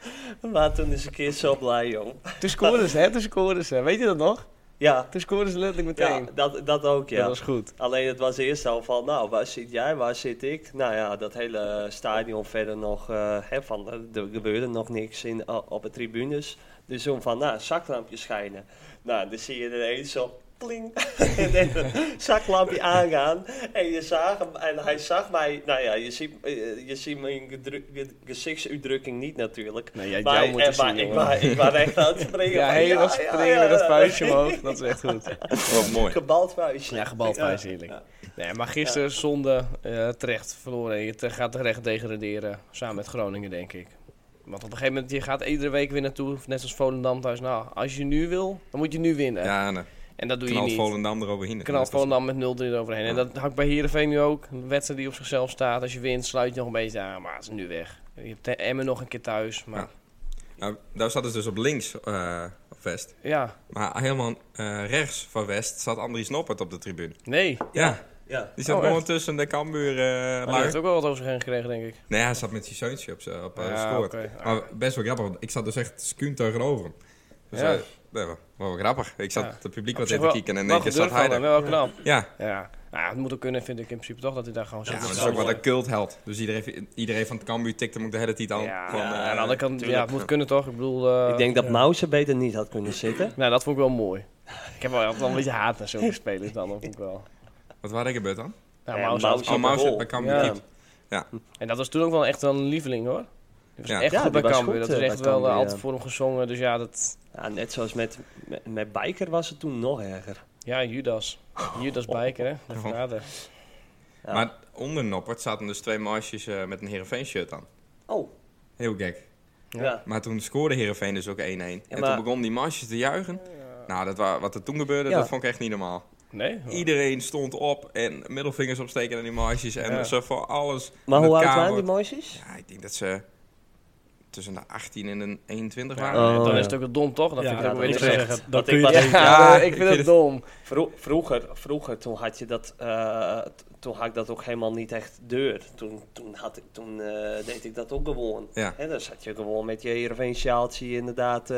(laughs)
Maar toen is ik keer zo blij, joh.
Toen scoorden ze, hè? Toen scoorden ze. Weet je dat nog?
Ja,
Toen scoorden ze letterlijk
ja
meteen.
dat, dat ook, ja.
Dat was goed.
Alleen het was eerst al van, nou, waar zit jij, waar zit ik? Nou ja, dat eh, hele stadion verder nog, eh, hè, van, er er gebeurde nog niks in, o- op de eh, tribunes. Dus zo van, nou, zaklampje schijnen. Nou, dan zie je ineens zo, pling, (laughs) en even een zaklampje aangaan. En je zag hem, en hij zag mij, nou ja, je ziet, eh, je ziet mijn gedru- ge- gezichtsuitdrukking niet natuurlijk.
Nee, jij,
Maar,
jou moet
eh, maar
zien,
ik,
jongen.
wa- ik was echt aan het springen.
(laughs) Ja,
van,
helemaal
ja, ja,
springen
ja,
met dat
ja.
vuistje omhoog. Dat is echt goed.
Oh, mooi.
Gebald vuistje.
Ja, gebald vuist, heerlijk.
Ja.
Nee, maar gisteren zonde eh, terecht verloren. Je te- gaat terecht degraderen. Samen met Groningen, denk ik. Want op een gegeven moment, je gaat iedere week weer naartoe. Net als Volendam thuis. Nou, als je nu wil, dan moet je nu winnen.
Ja, nee.
En dat doe je
knalt
niet.
Volendam eroverheen.
Knalt Volendam met 0-3 eroverheen. En dat hangt bij Heerenveen nu ook. Een wedstrijd die op zichzelf staat. Als je wint, sluit je nog een beetje aan. Maar het is nu weg. Je hebt Emmen nog een keer thuis. Maar
Nou, daar zat het dus op links eh, op West.
ja,
Maar helemaal eh, rechts van West zat Andries Noppert op de tribune.
nee.
Ja,
Ja.
die zat
Oh,
gewoon
echt?
tussen de Cambuur eh
Hij
lui.
heeft ook wel wat over zich heen gekregen, denk ik.
Nee, hij zat met zijn zeuntje op, z'n- op eh,
Ja,
gescoord.
oké, oké.
Maar best wel grappig, want ik zat dus echt skuun tegenover hem. Dus
Ja.
eh, nee, wel, wel grappig. Ik zat
Ja.
het publiek
Op
wat
zich
even kijken en in
wel
één keer zat
gedurfd
hij
van hem,
daar.
Wel knap.
Ja,
Ja, nou, het moet ook kunnen, vind ik in principe toch, dat hij daar gewoon
ja
zit.
maar dat
Dat
is
zou
ook wel
mooi.
een cultheld. Dus iedereen, iedereen van het Cambuur tikte hem ook de hele tijd aan.
Ja,
van,
ja,
eh,
aan de andere kant, ja,
tuurlijk.
het moet kunnen toch? Ik bedoel, eh,
Ik denk dat Mauze beter niet had kunnen zitten.
nou, dat vond ik wel mooi. Ik heb wel altijd wel een beetje haat naar
(laughs)
zulke spelers dan, dat vond ik wel.
Wat waren er gebeurd dan?
Ja,
Ja,
Maus
Maus
had-
Oh, Maus
goal.
bij Cambuur
Ja.
keept.
En dat was toen ook wel echt wel een lieveling, hoor. Die was
Ja.
echt
Ja,
goed
die
bij
was
Cambuur,
goed,
dat is
eh,
echt
bij
wel
Cambuur,
eh,
ja.
altijd voor hem gezongen. Dus ja, dat,
Ja, net zoals met, met, met Biker was het toen nog erger.
ja Judas. Judas
Oh.
Bijker, hè. De vader.
Ja.
Maar onder Noppert zaten dus twee marsjes eh, met een Heerenveen shirt aan.
oh,
Heel gek.
ja.
Maar toen scoorde Heerenveen dus ook 1-1. En
maar-
toen begon die marsjes te juichen. Nou, dat wa- wat er toen gebeurde,
Ja.
dat vond ik echt niet normaal.
Nee? hoor.
Iedereen stond op en middelvingers opsteken aan die marsjes. En
Ja.
ze voor alles...
Maar
met
hoe oud
K
waren die
wordt.
mooisjes?
Ja, ik denk dat ze tussen de 18 en de 21
Ja,
waren.
Oh,
dan
ja.
is het ook wel dom, toch? Dan
Ja,
vind ik het ook
dat
weer
ik
niet
is
zou
terecht.
zeggen,
Want
dat
ik
kun je
was-
(laughs)
tegen-
Ja,
ik vind het dom.
Vro- vroeger, vroeger, toen had je dat, eh, t- toen had ik dat ook helemaal niet echt deur. Toen, toen, had ik, toen eh, deed ik dat ook gewoon.
Ja.
Hè, dan zat je gewoon met je Heerenveen sjaaltje inderdaad. eh,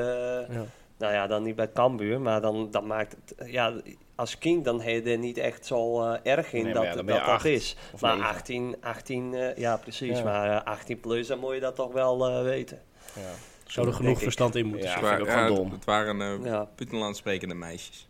Ja.
Nou ja, dan niet bij Cambuur, maar dan, dan maakt het... eh, Ja, als kind dan heet er niet echt zo eh, erg in
Nee, maar
dat
ja, dan
dat,
ben je
dat
acht
is.
of
Maar
negen.
18, 18 eh, ja precies.
Ja.
Maar eh, 18 plus, dan moet je dat toch wel eh, weten.
Ja.
Zou er
Denk
genoeg
ik.
verstand in moeten
Ja.
zitten.
Het wa-
vind ik ook gewoon
het-
dom.
Het waren
Hm.
eh
Ja.
buitenlands sprekende meisjes.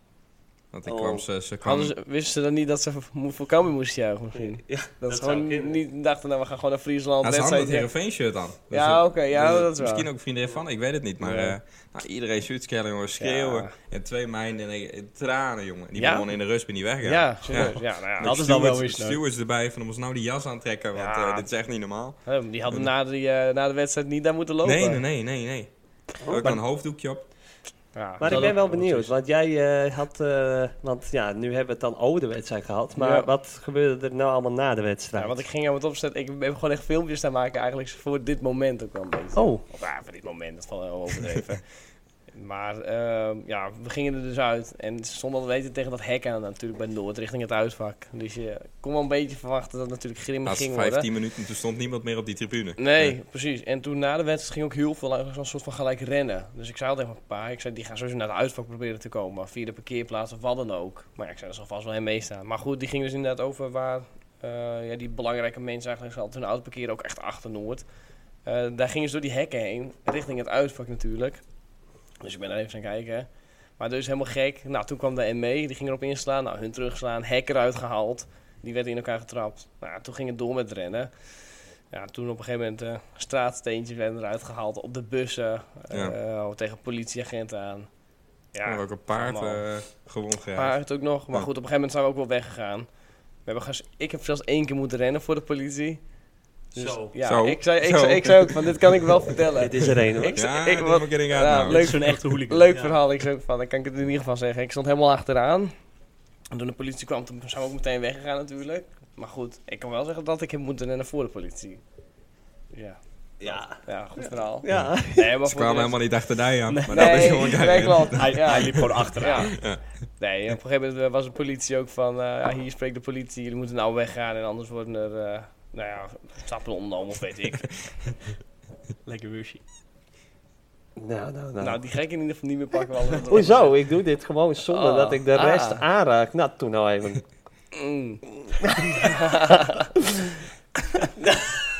Want ik
Oh.
kwam ze... ze kwam,
Hadden ze- wisten ze dan niet dat ze voor voor Cambuur moesten juichen misschien?
Ja,
Dat,
Dat
ze gewoon
zou kunnen.
niet dachten, nou we gaan gewoon naar Friesland.
Nou, ze
net
hadden
zei
het
het-
Heerenveen shirt aan. Dus
Ja,
dat-
oké, ja, dat is waar.
Misschien ook vriendin van, ik weet het niet. Maar
Ja.
eh, nou, iedereen shoot schellen, jongen, schreeuwen.
Ja.
En twee meiden en eh, tranen, jongen. Die
Ja?
begonnen in de rust, ben niet weggegaan.
Ja, serieus. Ja, nou ja.
Dat is dan wel
Stewards-
weer sneu.
Stewards erbij, van, dan moest nou die jas aantrekken, want
Ja.
eh, dit is echt niet normaal.
Hè, Die hadden na, die, eh, na de wedstrijd niet daar moeten lopen.
Nee, nee, nee, nee, nee.
Oh.
Ook een hoofddoekje op.
Ja,
Maar
dat
ik ben
ook
wel
goed
benieuwd,
is.
want jij eh, had, eh, want ja, nu hebben we het dan over de wedstrijd gehad, maar
Ja.
wat gebeurde er nou allemaal na de wedstrijd?
Ja, want ik ging aan het opzetten. Ik heb gewoon echt filmpjes staan maken eigenlijk voor dit moment ook wel een beetje.
Oh,
Of ja, voor dit moment, dat valt
(laughs)
wel overdreven. maar ehm, ja, we gingen er dus uit. En zonder dat weten tegen dat hek aan natuurlijk bij Noord, richting het uitvak. Dus je kon wel een beetje verwachten dat het natuurlijk grimmig
Laatste
ging worden.
15 minuten, toen stond niemand meer op die tribune.
Nee, precies. En toen na de wedstrijd ging ook heel veel eigenlijk zo'n soort van gelijk rennen. Dus ik zei al tegen mijn pa, ik zei, die gaan sowieso naar de uitvak proberen te komen. maar Via de parkeerplaats of wat dan ook. Maar ja, ik zei, dat zal vast wel hem meestaan. Maar goed, die ging dus inderdaad over waar eh, ja, die belangrijke mensen eigenlijk altijd hun auto parkeren. Ook echt achter Noord. Eh, daar gingen ze door die hekken heen, richting het uitvak natuurlijk. Dus ik ben daar even gaan kijken. Maar dus helemaal gek. Nou, toen kwam de ME, die ging erop inslaan. Nou, hun terugslaan, hek eruit gehaald. Die werd in elkaar getrapt. Nou, toen ging het door met rennen. Ja, toen op een gegeven moment eh, straatsteentjes werden eruit gehaald op de bussen. eh, oh, tegen politieagenten aan.
Ja,
Ja,
ook een paard
allemaal.
eh gewond geraakt.
paard ook nog. Maar
Ja.
goed, op een gegeven moment zijn we ook wel weggegaan. We hebben ges- ik heb zelfs één keer moeten rennen voor de politie. Dus,
Zo.
Ja,
Zo.
Ik, zei, ik,
Zo.
zei, ik zei ook van, dit kan ik wel vertellen.
dit is er een hoor.
ik-
ja, nou,
ik
ik
was-
was getting
ja,
out
leuk.
leuk.
Dat is zo'n echte hooligan.
Leuk
Ja.
verhaal, ik zei ook van, dan kan ik het in ieder geval zeggen. Ik stond helemaal achteraan. En toen de politie kwam, toen zijn we ook meteen weggegaan natuurlijk. Maar goed, ik kan wel zeggen dat ik heb moeten rennen voor de politie. Ja,
Ja,
ja goed verhaal.
(laughs)
ja.
Nee, maar
Ze
voor de
kwamen
rest-
helemaal niet achter die aan. Maar
(laughs)
dat is
Nee,
gewoon
nee,
gek.
klopt. Ja.
liep gewoon achteraan.
Ja. Nee, op een gegeven moment eh, was de politie ook van... eh, ja, hier spreekt de politie, jullie moeten nou weggaan... en anders worden er, eh, nou ja, stappen ondernomen of weet ik.
Lekker wushy.
Nou, nou, nou.
nou, die gek in ieder geval niet meer pakken. want anders-
Hoezo? Ik doe dit gewoon zonder
Ah,
dat ik de rest
ah.
aanraak. Nou, toen nou even.
Mm.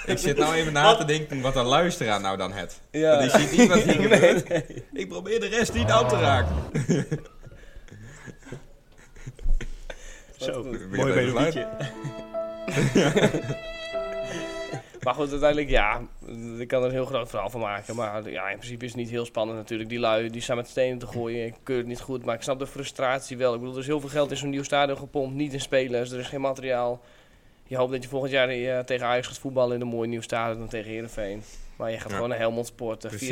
Ik zit nou even na te denken wat een luisteraar nou dan het.
Ja.
Want die ziet niet
(laughs)
wat hier gebeurt. Ik probeer de rest niet aan te raken.
Zo.
Weer
Mooi
even geluid.
melodietje.
Maar goed, uiteindelijk, ja, ik kan er een heel groot verhaal van maken. Maar ja, in principe is het niet heel spannend natuurlijk. Die lui, die staan met stenen te gooien. Ik keur het niet goed, maar ik snap de frustratie wel. Ik bedoel, er is heel veel geld in zo'n nieuw stadion gepompt. Niet in spelers, er is geen materiaal. Je hoopt dat je volgend jaar eh, tegen Ajax gaat voetballen in een mooi nieuw stadion dan tegen Heerenveen. Maar je gaat
Ja.
gewoon naar Helmond sporten.
Precies.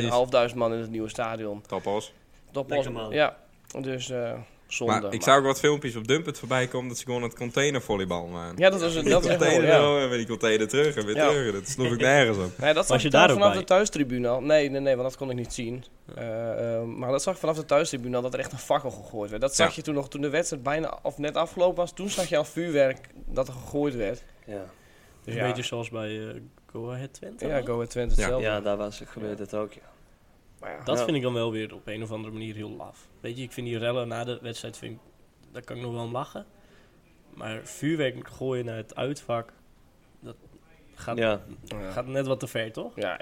4.500 man in het nieuwe stadion.
Toppos.
Dat was
Lekker man.
Ja, dus eh, zonde.
Maar ik
Maar-
zou ook wat filmpjes op Dumpet voorbij komen dat ze gewoon het containervolleybal maken.
Ja, dat was het. Dat
Die
was echt wel,
container
ja.
zo en weer die container terug en weer
Ja.
terug. Dat sloeg ik nergens op.
Nee, dat zag
je
ik daar
daar ook
vanaf
bij?
de thuistribune al. Nee, nee, nee, want dat kon ik niet zien. Eh, eh, maar dat zag ik vanaf de thuistribune al, dat er echt een fakkel gegooid werd. Dat zag
Ja.
je toen nog, toen de wedstrijd bijna of net afgelopen was. Toen zag je al vuurwerk dat er gegooid werd.
Ja.
Dus
Een
ja,
beetje zoals bij eh Go Ahead Twente.
ja Go Ahead Twente
Ja.
hetzelfde.
ja, daar was, gebeurde het ook. Ja.
Maar ja,
Dat
Ja.
vind ik dan wel weer op een of andere manier heel laf. Weet je, ik vind die rellen na de wedstrijd, vind ik, daar kan ik nog wel om lachen. Maar vuurwerk gooien naar het uitvak, dat gaat,
Ja.
ja.
gaat net wat te ver, toch?
ja.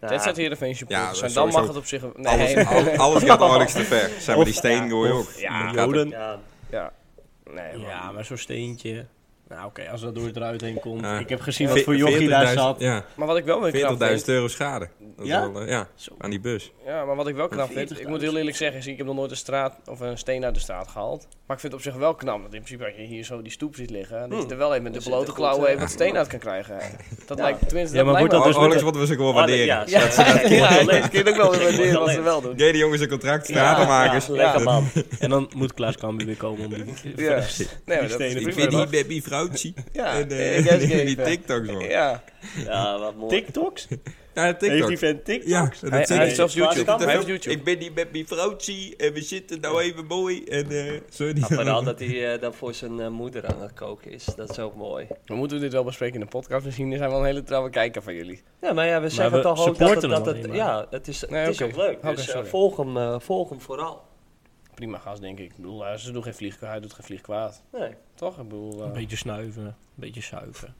Ja.
dit staat hier de Veen
Ja, dat
supporters.
is
en dan mag
sowieso-
het op zich... Nee,
Alles,
maar-
al- alles gaat nauwelijks te ver. Zijn we die steen gooien ook.
(laughs) ja,
Gaat
Joden.
Ja.
nee, maar-
Ja, maar zo'n steentje. Nou oké, als dat door het eruit heen komt.
Ja.
Ik heb gezien
er-
wat voor jochie daar
40.000
zat.
Ja,
Maar wat ik wel weer knap
40.000
vind...
euro schade. Dat is
Ja?
wel, eh, ja,
Zo.
aan die bus.
Ja, maar wat ik wel knap vind, ik
40.000.
moet heel eerlijk zeggen, is, ik heb nog nooit een straat of een steen uit de straat gehaald. Maar ik vind het op zich wel knap dat in principe als je hier zo die stoep ziet liggen, en dat je er wel even met de
zit
blote
er
klauwen
goed,
even wat steen uit kan krijgen. Dat lijkt tenminste.
Ja, maar
lijkt
wordt dat
me
dus
wel-
met
Nauwelijks wat we ze gewoon
Ah, nee,
waarderen.
ja,
Ja, ja, ja, dat kun je ook wel weer waarderen wat ze wel doen.
Jij die jongens een contract stratenmakers.
Ja,
Lekker man.
En dan moet Klaas Kambi weer komen om die... (laughs)
Ja. Nee, maar dat
stenen
is
Ik
vind
vind
prima,
die
toch?
baby vrouwtje.
Ja,
en, eh,
ik
(laughs)
juist
die
even.
TikToks man. Ja,
Ja,
Ja, wat mooi.
TikToks? Heeft die
TikTok.
vent TikToks?
Ja, dat
hij, hij heeft
TikTok.
zelfs YouTube.
Hij
Hij
Hij
heeft
heeft YouTube.
Ik ben die baby vrouwtje en we zitten nou even mooi. En eh sorry.
Ja, vooral dat hij eh, dan voor zijn eh, moeder aan het koken is. Dat is ook mooi.
We moeten dit wel bespreken in de podcast. Misschien zijn we wel een hele trouwe kijker van jullie.
Ja, maar ja, we zeggen
we
toch ook dat het...
supporten
Dat
hem
het
alleen maar.
ja, het is,
Nee,
het is
oké.
ook leuk.
Oké,
dus eh,
sorry.
volg, hem, eh, volg hem vooral.
Prima gast, denk ik. Ik bedoel, eh, ze doen geen vlieg, hij doet geen vlieg kwaad.
Nee,
Toch? Ik bedoel,
Een
eh,
beetje snuiven, een beetje zuiven.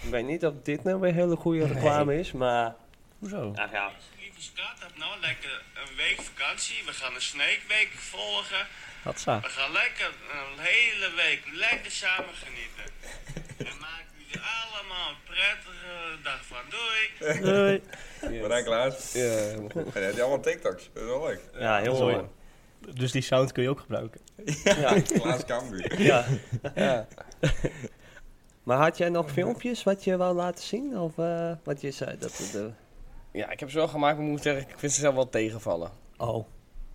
ik weet niet of dit nou weer hele goede reclame is, maar...
Hoezo?
Nou ja,
Lieve schat, heb nou lekker een week vakantie. We gaan een sneekweek volgen.
Dat zou.
We gaan lekker een hele week lekker samen genieten. En maak jullie allemaal een prettige dag van. Doei!
Doei.
(laughs) Maar dan Klaas.
ja, helemaal goed.
En hij heeft allemaal TikToks. Dat is wel leuk.
ja heel
Mooi.
mooi.
Dus die sound kun je ook gebruiken.
Ja,
Klaas Cambuur.
ja.
eh, ja.
Maar had jij nog filmpjes wat je wou laten zien? Of eh, wat je zei? Dat het, eh,
Ja, ik heb ze wel gemaakt, maar ik moet zeggen, ik vind ze zelf wel tegenvallen.
Oh,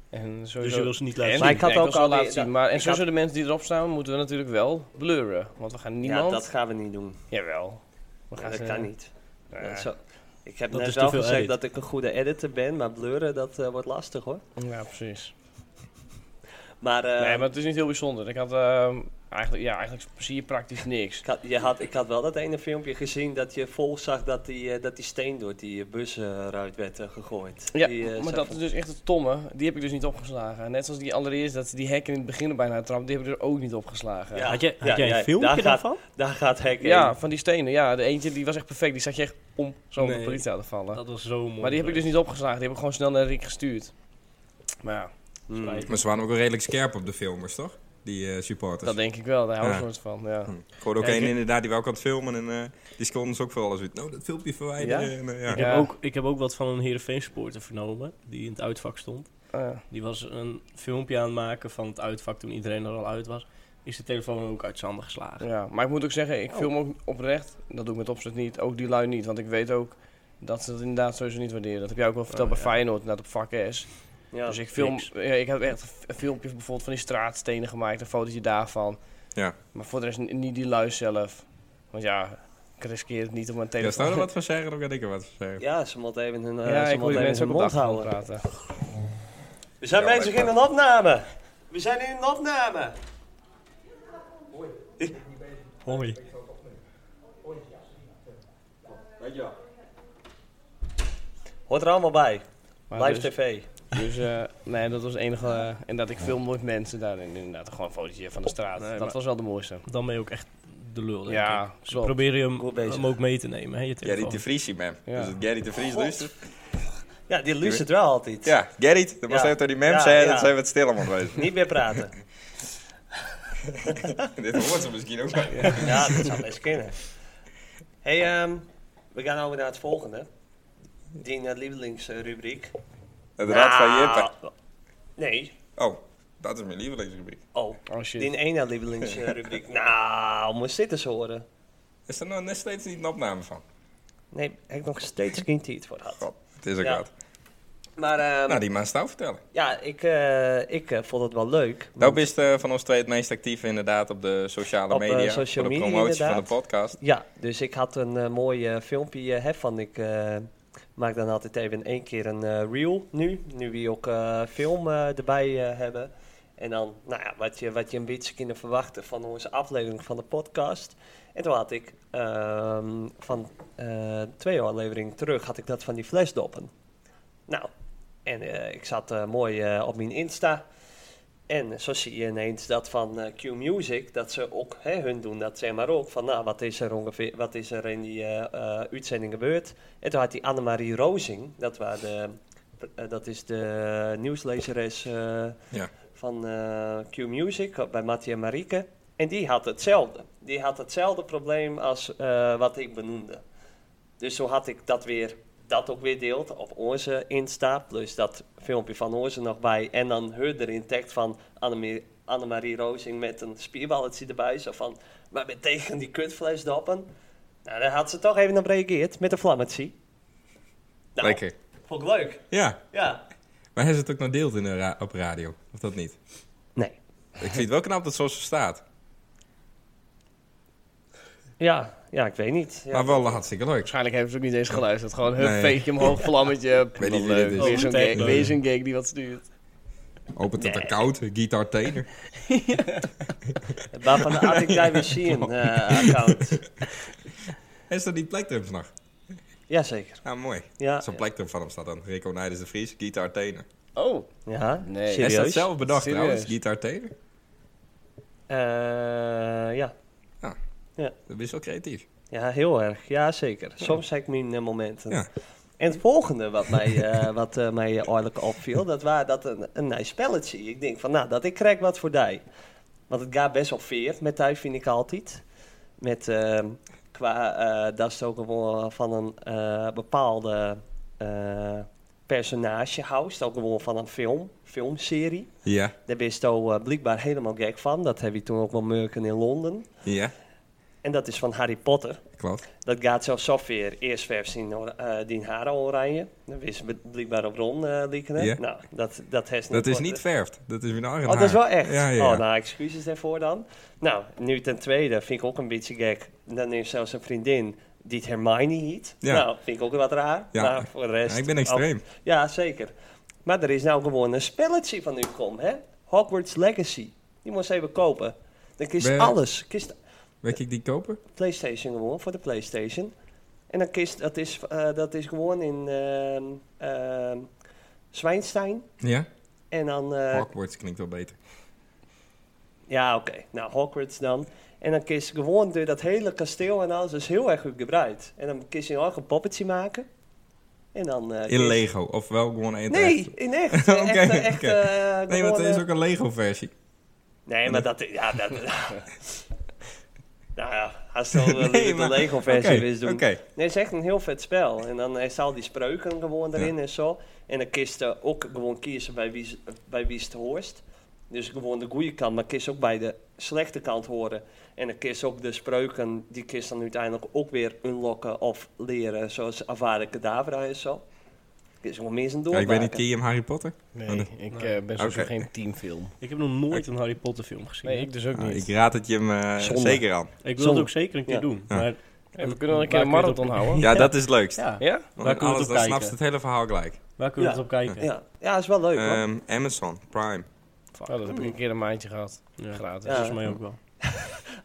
En sowieso...
dus je wil ze niet
en,
laten
Maar
zien.
ik had
Nee, wil
ook
ze
al
wel
die-
laten zien.
dat-
Maar en
ik
sowieso
had-
de mensen die erop staan, moeten we natuurlijk wel blurren. Want we gaan
Ja,
niemand...
dat gaan we niet doen.
Jawel. We gaan
dat
ze-
kan niet.
Nee.
Dat zo- ik heb
Dat
net
is te
wel
veel
gezegd
edit.
dat ik een goede editor ben, maar blurren dat eh, wordt lastig hoor.
Ja, precies. Ehm,
Maar, eh,
nee, maar het is niet heel bijzonder. Ik had ehm, eigenlijk, ja, eigenlijk zie je praktisch niks.
ik, had, je had, ik had wel dat ene filmpje gezien dat je vol zag dat die, eh, dat die steen door die eh, busruit werd eh, gegooid.
(laughs) Ja,
Die, eh,
maar
zag
dat
van-
is dus echt het tomme. Die heb ik dus niet opgeslagen. Net zoals die allereerst dat ze die hekken in het begin er bijna trapt, die heb ik er ook niet opgeslagen.
Ja.
Had, je, had
Ja,
jij een
ja, daar
filmpje
gaat-
daarvan?
Daar gaat hek
Ja,
in.
van die stenen. Ja, de eentje die was echt perfect. Die zat je echt om zo op de
Nee.
politie aan te vallen.
Dat was zo mooi.
Maar die heb ik dus niet opgeslagen. Die heb ik gewoon snel naar Rick gestuurd. Maar ja,
Hmm.
(laughs) Maar ze waren ook wel redelijk scherp op de filmers, toch? Die eh, supporters.
dat denk ik wel. Daar houden
Ja.
ze soort van. Ja.
Ik hoorde ook
Ja, ik
één
heb-
inderdaad die wou ook aan het filmen en eh, die seconden ook voor alles uit. Nou, dat filmpje verwijderen.
Ja?
En, eh, ja.
Ik,
Ja.
heb ook, ik heb ook wat van een Heerenveen supporter vernomen, die in het uitvak stond.
Ah,
Die was een filmpje aan het maken van het uitvak toen iedereen er al uit was. Is de telefoon ook uit zijn handen geslagen.
ja. Maar ik moet ook zeggen, ik
Oh.
film ook oprecht. Dat doe ik met opzet niet. Ook die lui niet. Want ik weet ook dat ze dat inderdaad sowieso niet waarderen. Dat heb jij ook wel verteld
Oh,
bij
ja.
Feyenoord, net op vak S.
Ja.
dus ik film,
niks.
ja, ik heb echt f- filmpjes bijvoorbeeld van die straatstenen gemaakt. Een fotootje daarvan.
Ja.
Maar voor de rest n- niet die lui zelf. Want ja, ik riskeer het niet om mijn
Ja,
telefoon...
zou er wat van zeggen, dan kan ik er wat van zeggen.
ja, ze moet even hun, eh,
Ja,
ze
ik
moet
hoor die
even
mensen ook
hun
op de
mond
achtergrond
houden.
praten.
We zijn
Ja,
bezig
lekker.
in een opname. We zijn in een opname.
Hoi.
Hoort er allemaal bij.
Maar
Live
dus-
tv.
Dus eh, nee, dat was het enige. eh, en dat ik film nooit mensen daarin. Inderdaad, gewoon een fotootje van de straat.
Nee,
dat
maar-
was wel de mooiste.
Dan ben je ook echt de lul, denk
Ja,
ik. Ze
klopt.
proberen hem,
Goed bezig.
hem ook mee te nemen, hè, je
Gerrit
telefoon.
de Vries, man.
Ja.
Dus het Gerrit de Vries
God.
luistert.
Ja, die luistert wel altijd.
Ja, Gerrit. Dat was
Ja.
net door die mem
Ja,
zei,
ja.
dat zijn we het stil om geweest.
Niet meer praten.
(laughs) Dit hoort ze misschien ook wel.
Ja, dat zou best kunnen. hey, ehm, we gaan over naar het volgende. Die eh, lievelingsrubriek.
Het rad van Jippe.
Nou, Nee.
Oh, dat is mijn lievelingsrubriek.
Oh,
Oh shit.
die ene
(laughs)
lievelingsrubriek. nou, moest dit eens horen.
Is er nog net steeds niet een opname van?
Nee, heb ik nog steeds geen tijd voor gehad.
God, het is ook
Ja.
wat.
Maar ehm,
Nou, die maast jou vertellen.
ja, ik, eh, ik eh, vond het wel leuk.
Nou, bist eh, van ons twee het meest actief inderdaad op de sociale
Op, eh,
media.
social
voor de
media,
promotie van
inderdaad.
de podcast.
Ja, dus ik had een eh, mooi eh, filmpje eh, hè, van ik eh, maak dan altijd even in één keer een eh, reel nu, nu we ook eh, film eh, erbij eh, hebben. En dan, nou ja, wat je, wat je een beetje kunnen verwachten van onze aflevering van de podcast. En toen had ik ehm, van eh, twee afleveringen terug, had ik dat van die flesdoppen. Nou, en eh, ik zat eh, mooi eh, op mijn Insta. En zo zie je ineens dat van eh, Q Music, dat ze ook, hè, hun doen dat zeg maar ook, van nou, wat is er ongeveer, wat is er in die eh, eh, uitzending gebeurd? En toen had die Annemarie Rozing, dat, waren de, eh, dat is de nieuwslezeres eh,
Ja.
van eh, Q Music eh, bij Mattie en Marieke. En die had hetzelfde. Die had hetzelfde probleem als eh, wat ik benoemde. Dus zo had ik dat weer, dat ook weer deeld op onze Insta. Plus dat filmpje van onze nog bij. En dan hun erin tekst van Annemie- Annemarie Rozing met een spierballetje erbij. Zo van, maar met tegen die kutfles doppen. Nou, daar had ze toch even op gereageerd met een vlammetje. Nou,
Lekker.
vond ik leuk.
Ja,
Ja.
maar hij is het ook nog deelt in de ra- op radio? Of dat niet?
Nee.
Ik vind het wel knap dat het zoals ze staat.
Ja, ja ik weet niet. Ja.
Maar wel hartstikke leuk.
Waarschijnlijk hebben ze ook niet eens geluisterd. Gewoon een
Nee. (laughs)
veetje omhoog, vlammetje.
weet niet wie
leuk.
dit is.
Weer zo'n
Overtuigd
gek-
leuk.
weer zo'n gek die wat stuurt.
Opent het account, Guitar Taylor.
Waarvan
(laughs)
de Arctic Diamond Machine eh, account.
Is dat die plektum vannacht?
Jazeker.
Ah, mooi.
Ja.
Zo'n plektum van hem staat dan. Rico Nijders de Vries, Guitar Taylor.
Oh,
Ja,
Nee.
Hij is dat
serieus?
zelf bedacht
Serieus?
trouwens, Guitar Taylor.
Eh, ja.
Dat is wel creatief.
ja, heel erg. Ja, zeker. Soms heb ik mijn eh, momenten.
Ja.
En het volgende wat mij, eh, (laughs) wat, eh, mij eh, oorlijk opviel, dat was dat een, een nice spelletje. Ik denk van, nou, dat ik krijg wat voor die. Want het gaat best wel veer met die, vind ik altijd. Met, eh, qua, eh, dat is ook gewoon van een eh, bepaalde eh, personage house. Ook gewoon van een film, filmserie.
Ja,
Daar ben je zo, eh, blijkbaar helemaal gek van. Dat heb je toen ook wel merken in Londen.
ja,
En dat is van Harry Potter.
klopt.
Dat gaat zelfs software eerst versie in or- eh, die haren oranje. Dan wist ze blijkbaar op Ron eh lieken.
Ja.
Nou, dat, dat, heeft
Dat is
Potter.
niet verfd. Dat is mijn eigen
Oh, dat is
haar.
wel echt.
Ja, ja.
Oh, nou, excuses daarvoor dan. Nou, nu ten tweede vind ik ook een beetje gek. Dan heeft zelfs een vriendin die het Hermione heet.
Ja.
Nou, vind ik ook wat raar.
Ja.
Maar voor de rest...
Ja, ik ben extreem.
Ja, zeker. Maar er is nou gewoon een spelletje van u kom, hè? Hogwarts Legacy. Die moest even kopen. Dan kiest
Ben-
alles. Kiest
Weet ik die kopen?
PlayStation gewoon, voor de PlayStation. En dan kiest, dat is, eh, dat is gewoon in ehm ehm, Zwijnstein.
Ja.
En dan, eh,
Hogwarts klinkt wel beter.
ja oké, nou Hogwarts dan. En dan kies gewoon door dat hele kasteel en alles, dat is heel erg goed gebruikt. En dan kies je een eigen poppetje maken. En dan... eh,
In
kies-
Lego, of wel gewoon één
Nee, in
(laughs)
echt.
Oké,
echt, eh, echt
oké.
eh,
Nee,
gewoon,
want er is
eh,
ook een Lego-versie.
Nee, maar dat... Ja,
(laughs)
dat (laughs) nou ja, als je
Nee,
nee, de
maar-
Lego-versie
Oké,
wist doen.
oké.
Nee, dus het is echt een heel vet spel. En dan is al die spreuken gewoon erin en zo. En dan kiest je ook gewoon kiezen bij wie, ze- bij wie het hoort. Dus gewoon de goede kant, maar kies ook bij de slechte kant horen. En dan kies ook de spreuken, die kies dan uiteindelijk ook weer unlocken of leren. Zoals Avada Kedavra en zo. Kies gewoon meer zijn
Ja,
doorbraken.
ik weet niet, ken je hem Harry Potter?
nee, ik eh, ben sowieso
Oké.
geen teamfilm.
Ik heb nog nooit een Harry Potter film gezien.
Nee, ik dus ook
Nou,
niet.
ik raad het je hem eh,
Zonde.
zeker aan.
Ik wil het
Zonde.
ook zeker een keer
Ja.
doen.
Ja.
Maar
Hey, we kunnen wel een keer
Waar kun
een
je het
marathon
op-
houden.
(laughs) Ja, dat is het leukst.
ja,
Ja?
Want
Waar kun je het
anders
op
dan snapt ze
kijken?
het hele verhaal gelijk.
waar kunnen we
Ja.
het op kijken?
Ja, ja, is wel leuk hoor.
Ehm, Amazon Prime.
Oh, dat heb ik een keer een maandje gehad.
Ja.
Gratis.
Ja.
Volgens mij ook wel.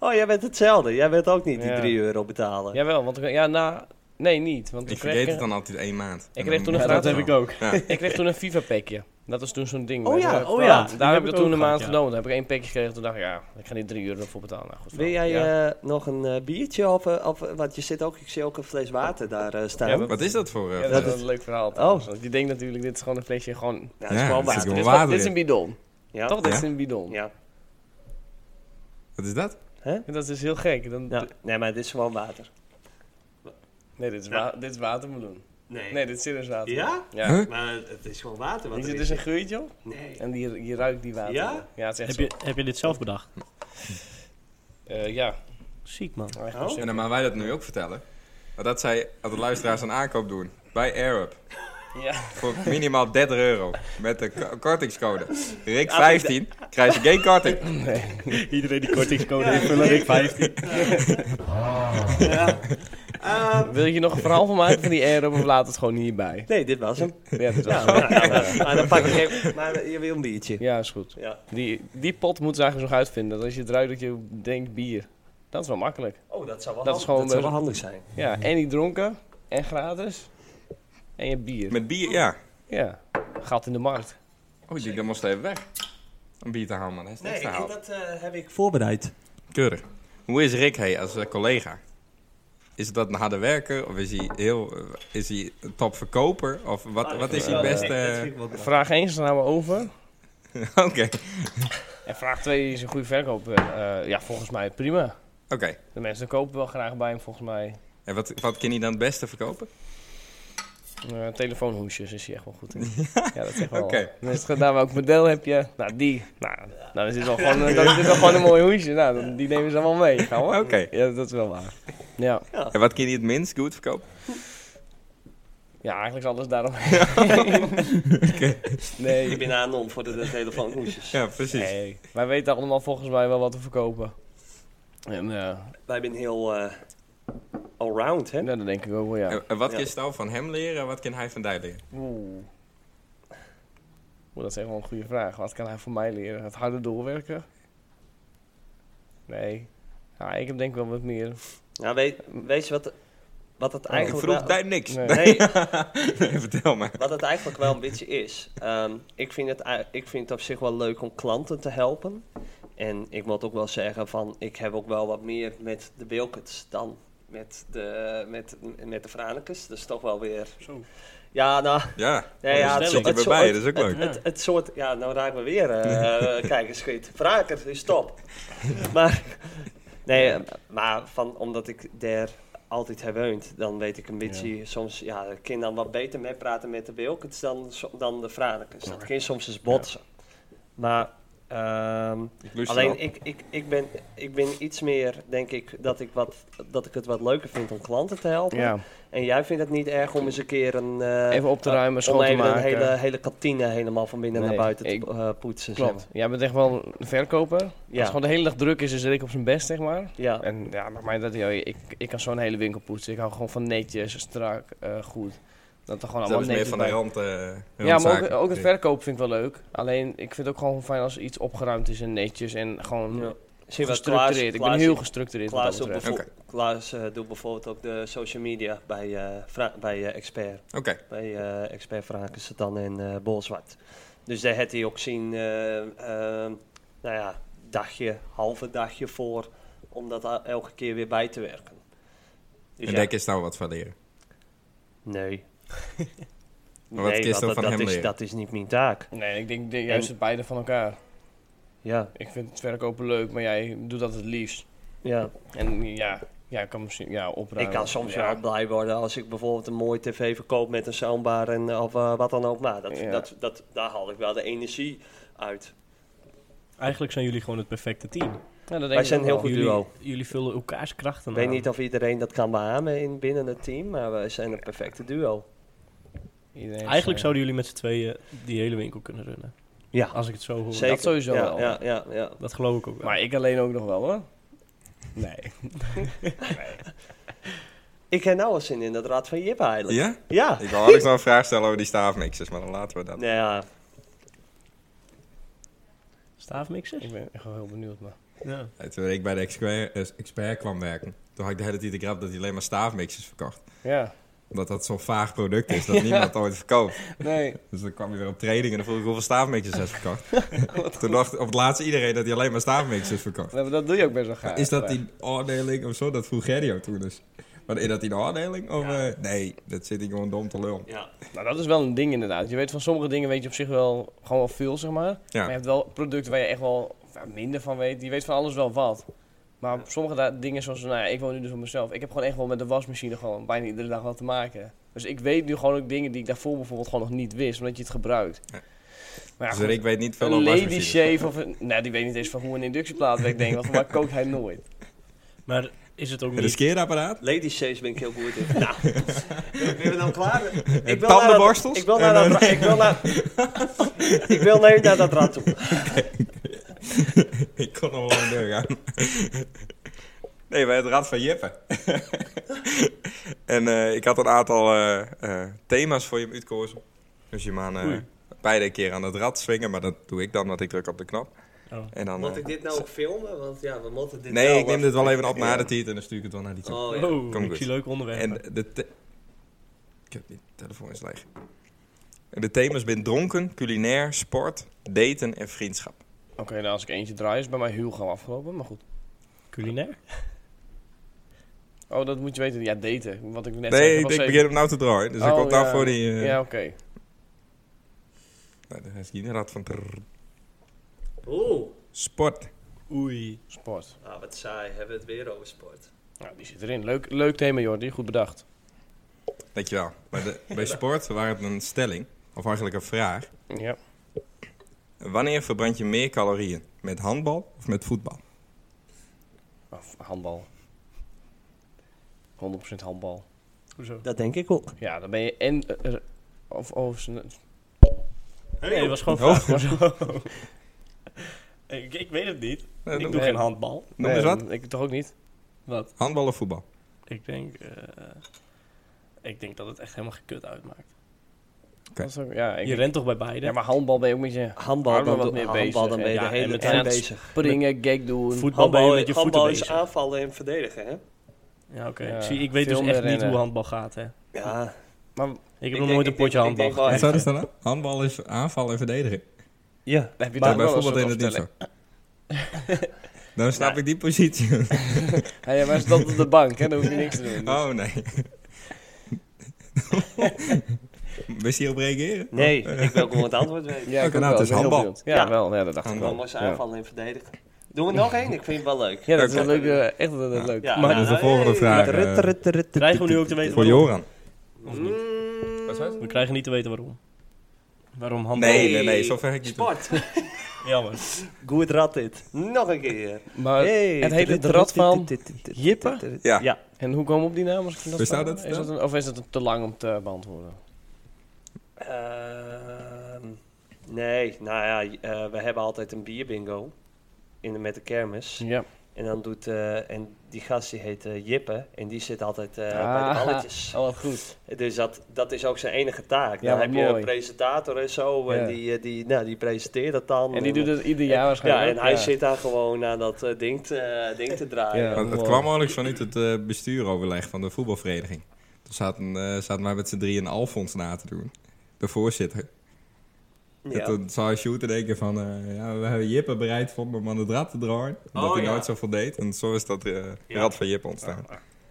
Oh, jij bent hetzelfde. Jij bent ook niet die
Ja.
3 euro betalen.
Jawel, want ik- ja, na, nee, niet. Want
Ik
ik kreeg,
vergeet het
een-
dan altijd één maand. En
kreeg toen
moet
een
het
gratis-
wel.
ook.
ik kreeg toen een FIFA-packje. Dat was toen zo'n ding.
Oh
weet
ja,
je.
oh ja.
Daar
Die
heb
heb
ik
ik
dat toen
ook
een maand
gehad, ja.
genomen. Daar heb ik één pakje gekregen. Toen dacht ik, ja, ik ga niet drie euro voor betalen. Nou, goed,
Wil
verhaal.
jij
ja.
eh, nog een eh, biertje? Of, eh, of, want je zit ook, ik zie ook een fles water daar eh, staan.
Ja,
dat,
Wat is dat voor... eh,
Ja, dat
fles?
is wel een leuk verhaal. trouwens. Want je denkt natuurlijk, dit is gewoon een flesje. Gewoon,
is
Ja,
gewoon
dat is
water.
gewoon
dit, is,
water
dit is
in.
een bidon.
Ja.
Toch, dit
Ja.
is een bidon.
Ja.
Wat is dat?
En Dat is heel gek. Dan,
ja. Nee, maar dit is gewoon water.
Nee, dit is,
Ja.
wa- dit is watermeloen. Nee, dit is serieus water.
Ja?
Ja.
Huh?
Maar het is gewoon water.
Die
Wat
zit dus een geurtje op.
Nee.
En die, je ruikt die water.
Ja?
Ja, het is echt
Heb
zo.
je, heb je dit zelf bedacht?
Eh, ja.
Ziek man.
Eigenlijk
Oh?
En
wel simpel.
dan gaan nou, wij dat nu ook vertellen. Maar Dat zij dat de luisteraars een aankoop doen. Bij Arab.
Ja.
Voor minimaal 30 euro. Met de ko- kortingscode. Rick 15 krijg je geen korting.
(laughs)
Iedereen die kortingscode invullen, ik 15.
(laughs) Wil je nog een verhaal van maken van die air of laat het gewoon hierbij?
Nee, dit was hem. Nou,
Ja, dat is wel-
Ja, (laughs) maar, maar dan pak ik even... Maar eh, je wil een biertje.
ja, is goed.
Ja.
Die, die pot moeten ze eigenlijk nog uitvinden. Dat als je het ruikt dat je denkt bier. Dat is wel makkelijk.
Oh, dat zou wel,
Dat is
handig,
gewoon
dat zou wel
best-
handig zijn.
Ja, en niet dronken. En gratis. En je hebt bier.
Met bier, ja.
Ja. Gat in de markt.
Oh, die dan moest even weg. Om bier te halen, man. Dat is niks te halen.
dat eh, heb ik Oh, voorbereid.
Keurig. Hoe is Rick hey, als eh, collega? Is dat een harde werker? Of is hij, heel, eh, is hij een topverkoper? Of wat,
Ah,
wat is hij best... eh,
Vraag 1 slaan we over.
(laughs) Oké.
En vraag 2 is een goede verkoop. Eh, ja, volgens mij prima.
Oké.
De mensen kopen wel graag bij hem volgens mij.
En wat, wat kan hij dan het beste verkopen?
Eh, telefoonhoesjes is hij echt wel
(laughs)
goed in. ja, dat is echt wel.
Oké.
Mensen gaan daar welk model heb je? Nou, die. Nou, nou is dit wel
(laughs)
gewoon, eh, dat is dit wel gewoon een mooi hoesje. Nou, dan- die nemen ze allemaal mee. Gaan we?
Oké.
Ja, dat is wel waar. Ja,
En wat kan hij het minst goed verkopen?
ja eigenlijk is alles
(laughs)
daarom. Nee.
Ik ben aan om voor de, de telefoonhoesjes.
Ja, precies.
nee. Wij weten allemaal volgens mij wel wat te verkopen. En eh,
Wij zijn heel eh allround, hè?
ja, dat denk ik ook wel, ja.
En, en wat
Ja.
kan Stal van hem leren en wat kan hij van Dij leren?
Oeh. Oeh, dat is echt wel een goede vraag. Wat kan hij voor mij leren? Het harde doorwerken? Nee. Ja, ik heb denk ik wel wat meer.
Nou, weet, weet je wat, wat het
ik
eigenlijk
vroeg
wel,
Dij niks.
Nee.
Nee,
(laughs) Nee, vertel maar.
wat het eigenlijk wel een beetje is. Ehm, ik, vind het, ei- ik vind het op zich wel leuk om klanten te helpen. En ik moet ook wel zeggen van, ik heb ook wel wat meer met de Wilkets dan met de, met, met de Franekus. Dat is toch wel weer...
Zo.
Ja, nou,
Ja,
Nee, ja,
dat
het,
zit je
het,
weer
het,
bij,
het,
dat is ook
het,
leuk.
het, het soort, ja, nou raken we weer eh
(laughs)
eh, kijkerschiet. Vraker is top. dus maar, nee, eh, maar van, omdat ik daar altijd heb woont, dan weet ik een beetje, soms, ja, ik kan dan wat beter meepraten met de Wilkens dan, so- dan de Frakers. Dat kan soms eens botsen. Maar, ehm,
Ik lust
Alleen
erop.
ik, ik, ik, ben, ik ben iets meer, denk ik, dat ik, wat, dat ik het wat leuker vind om klanten te helpen.
Ja.
En jij vindt het niet erg om eens een keer een... eh,
Even op te
eh,
ruimen, schoon
om
te
even een
maken.
hele, hele kantine helemaal van binnen
Nee,
naar buiten
ik-
te eh, poetsen. zeg
Klopt. Jij bent echt wel een verkoper. Als
Ja.
het gewoon de hele dag druk is, is Rick op zijn best, zeg maar.
maar. Ja.
En ja, maakt mij dat joh, ik, ik kan zo'n hele winkel poetsen. Ik hou gewoon van netjes, strak, eh, goed. Dat er gewoon
Dat is
allemaal
meer
netjes
van de
bij-
rand. eh,
Ja, maar ook,
randzaken.
ook het verkoop vind ik wel leuk. Alleen, ik vind het ook gewoon fijn als iets opgeruimd is en netjes en gewoon
Ja. Zie je wat Klaas,
gestructureerd. ik ben
Klaas-
heel gestructureerd wat
Klaas,
dat
doet
betreft.
bijvoorbeeld- Klaas eh, doet bijvoorbeeld ook de social media bij, eh, Fra- bij eh, Expert.
Oké,
Bij eh, Expert vragen ze dan en eh Bolzwart. Dus daar had hij ook zien, eh, ehm, nou ja, dagje, halve dagje voor, om dat a- elke keer weer bij te werken. Dus
en
ja.
daar kan Stal wat van leren.
Nee.
(laughs) Maar wat kun je
want
dan
dat,
van
dat
hem
is,
leren?
dat is niet mijn taak.
Nee, ik denk de- juist het beide van elkaar.
Ja,
Ik vind het verkopen leuk, maar jij doet dat het liefst.
ja.
En ja, jij kan misschien ja, opruimen.
ik kan soms
ja.
wel blij worden als ik bijvoorbeeld een mooie tv verkoop met een soundbar en, of eh, wat dan ook. Maar dat,
Ja.
dat, dat, daar haal ik wel de energie uit.
Eigenlijk zijn jullie gewoon het perfecte team.
Ja, dat denk
Wij
ik
zijn
ook
heel
wel.
goed
Jullie,
duo.
jullie vullen elkaars krachten
Ik weet
aan.
niet of iedereen dat kan beamen in, binnen het team, maar wij zijn een perfecte duo.
Iedereen is,
Eigenlijk
eh,
zouden jullie met z'n tweeën die hele winkel kunnen runnen.
Ja,
Als ik het zo hoor.
zeker.
sowieso
ja,
wel.
Ja, ja, ja.
Dat geloof ik ook wel.
Maar ik alleen ook nog wel hoor. Nee.
Ik heb nou al zin in dat Rad van Jip eigenlijk.
Ja?
Ja.
Ik wil Alex wel een vraag stellen over die staafmixers, maar dan laten we dat.
Nou ja,
Staafmixers?
Ik ben echt wel heel benieuwd. Maar.
Ja.
Ja, Toen ik bij de expert, eh, expert kwam werken, toen had ik de hele tijd de grap dat hij alleen maar staafmixers verkocht.
Ja.
Omdat dat zo'n vaag product
(laughs)
is dat niemand ooit verkoopt.
Nee.
Dus dan kwam je weer op training en dan vroeg ik hoeveel staafmixers heb je
(laughs)
verkocht. Toen dacht op het laatste iedereen dat hij alleen maar staafmixers verkocht.
Ja, maar dat doe je ook best wel
Maar
gaaf.
is dat
die?
die afdeling of zo? Dat vroeg Gerry ook toen dus. Maar is dat die afdeling? Of,
Ja.
eh, nee, dat zit ik gewoon dom te lul.
Ja.
Nou, dat is wel een ding inderdaad. Je weet van sommige dingen weet je op zich wel gewoon wel veel, zeg maar. Maar je hebt wel producten waar je echt wel ja, minder van weet. Je weet van alles wel wat. Maar op sommige da- dingen zoals, nou ja, ik woon nu dus op mezelf. Ik heb gewoon echt wel met de wasmachine gewoon bijna iedere dag wat te maken. Dus ik weet nu gewoon ook dingen die ik daarvoor bijvoorbeeld gewoon nog niet wist, omdat je het gebruikt.
Ja.
Maar
dus
goed,
ik weet niet veel
een
over
lady
wasmachines.
shave of een... Nou, die weet niet eens van hoe een inductieplaat werkt, denk ik. Want voor mij kookt hij nooit.
Maar is het ook
Een
niet...
riskeerapparaat?
Lady Shaves ben ik heel goed
(laughs)
in. nou, ben je dan klaar?
nou En
Ik wil naar dat,
tandenborstels?
ik wil
En,
naar
eh,
dat, ra- ik wil
(laughs)
naar, ik wil naar, naar dat rad toe.
Ik kon nog wel een deur gaan. (laughs) Nee, bij het Rad van Jeppe. (laughs) en eh, ik had een aantal eh, eh, thema's voor je uitkozen. Dus je mag eh,
Oei.
beide keer aan het rad swingen, maar dat doe ik dan, want ik druk op de knop.
Oh.
En dan,
Moet
eh,
ik dit nou ook filmen? Want ja, we moeten dit
nee,
wel
ik neem dit
laten-
wel even op
(laughs)
naar de titel en dan stuur ik het wel naar die toe.
Oh, ja.
Oh,
Kom
ik
goed.
zie leuke onderwerpen.
En de... te- Ik heb die telefoon is leeg. En de thema's zijn dronken, culinair, sport, daten en vriendschap.
(laughs) Oké, nou als ik eentje draai is bij mij heel gauw afgelopen, maar goed.
Culinair?
Oh, dat moet je weten. Ja, daten. Wat ik net zei.
Nee,
dat
ik,
was
ik
even-
begin hem nou te draaien, dus ik
Oh,
komt daar
ja.
voor die... eh,
Ja, oké.
Nou, dat is geen rad van trrr.
Oeh,
sport.
Oei.
Sport.
ah, wat saai. Hebben we het weer over sport.
Nou, die zit erin. Leuk, leuk thema, Jordi. Goed bedacht.
Dankjewel. Maar de,
(laughs)
bij sport waren het een stelling, of eigenlijk een vraag.
Ja.
Wanneer verbrand je meer calorieën? Met handbal of met voetbal?
Of handbal. 100% handbal.
Hoezo?
Dat denk ik ook.
Ja, dan ben je en... eh, eh, of, of ze-
Nee, dat was gewoon
Oh.
vraag.
(laughs)
hoezo? ik, ik weet het niet.
Eh,
ik
noem-
doe
nee.
geen handbal.
Noem eens wat.
Ik toch ook niet.
Wat?
Handbal of voetbal?
Oh, Ik denk... eh, ik denk dat het echt helemaal gekut uitmaakt.
Oké.
Dat is ook, ja, ik,
Je rent toch bij beide?
ja, maar handbal ben je ook met je
Handbal,
Armen
dan,
wat
doe-
meer
handbal
bezig,
dan
hè?
ben je
Ja,
de
en
hele
met
tijd
hand-
bezig.
springen, gek doen.
Voetbal ben je
Handbal,
met je voeten
handbal is
bezig.
aanvallen en verdedigen, hè?
Ja, oké.
Ja,
Zie, ik weet
veel
dus
meer
echt niet
rennen.
hoe handbal gaat, hè.
Ja,
Maar
Ik
Ik
heb nog
denk- ik
nooit een potje
denk- ik
handbal
denk wel
Wat
gehad.
staat er staan? Handbal is aanval en verdedigen.
ja.
heb je
Maar
dan
bij
wel een
voetbal deed het
soort
niet
opstelling?
zo. Dan snap ik die
(laughs)
positie. (laughs)
Hey, maar is dat op de bank, hè? Dan hoef je niks te doen.
Oh nee. (laughs) Wist je op reageren?
Nee, (laughs) ik wil gewoon het antwoord weten.
Ja, ik
Oké,
ook
nou, het is
wel. Ik ben heel
handbal.
benieuwd. Ja,
Ja.
wel. Ja, dat dacht ik wel.
Handbal.
Handbal is
Ja.
aanvallen en verdedigen. Doen we nog één? Ik vind het wel leuk.
Ja, dat is
Oké.
een leuke... Echt een een leuk.
Ja,
Maar
nou,
dus de
nou,
volgende
hey.
vraag.
Rut,
eh,
rut, rut, rut, rut,
Krijgen we nu
rut,
ook te weten
voor
waarom?
Joran.
Of niet?
Mm,
Wat zei je?
We krijgen niet te weten waarom. Waarom handbal?
Nee, nee, nee, zo ver ga ik niet.
Sport.
Jammer.
(laughs) Goed rad dit. Nog een keer.
Maar het heet het rad van... Jippe?
Ja.
Ja.
En hoe komen we op die naam? Als ik dat
Bestaat
vraag?
het
Is dat een, of is dat te lang om te beantwoorden?
Ehm, nee, nou ja, j- eh, we hebben altijd een bierbingo. In de, met de kermis.
Ja.
En dan doet, eh, en die gast die heet eh, Jippe. En die zit altijd eh, bij
Ah.
de balletjes.
Oh, wat goed.
Dus dat, dat is ook zijn enige taak.
Ja,
dan
wat
heb je
mooi.
een presentator en zo, en
Ja.
die, eh, die, nou, die presenteert dat dan. eh,
En die doet het ieder jaar
Ja,
waarschijnlijk.
en hij zit daar gewoon aan dat eh, ding, te, eh, ding te draaien.
Ja.
Want het
Wow.
kwam eigenlijk vanuit het eh, bestuuroverleg van de voetbalvereniging. Toen zaten, eh zaten wij met z'n drieën Alfons na te doen. De voorzitter. En
Ja.
toen zou Shooter denken van... eh, ja, we hebben Jippe bereid voor om aan de draad te draaien. Omdat
Oh,
hij
ja.
nooit zoveel deed. En zo is dat eh,
Ja.
rad van Jippe ontstaan.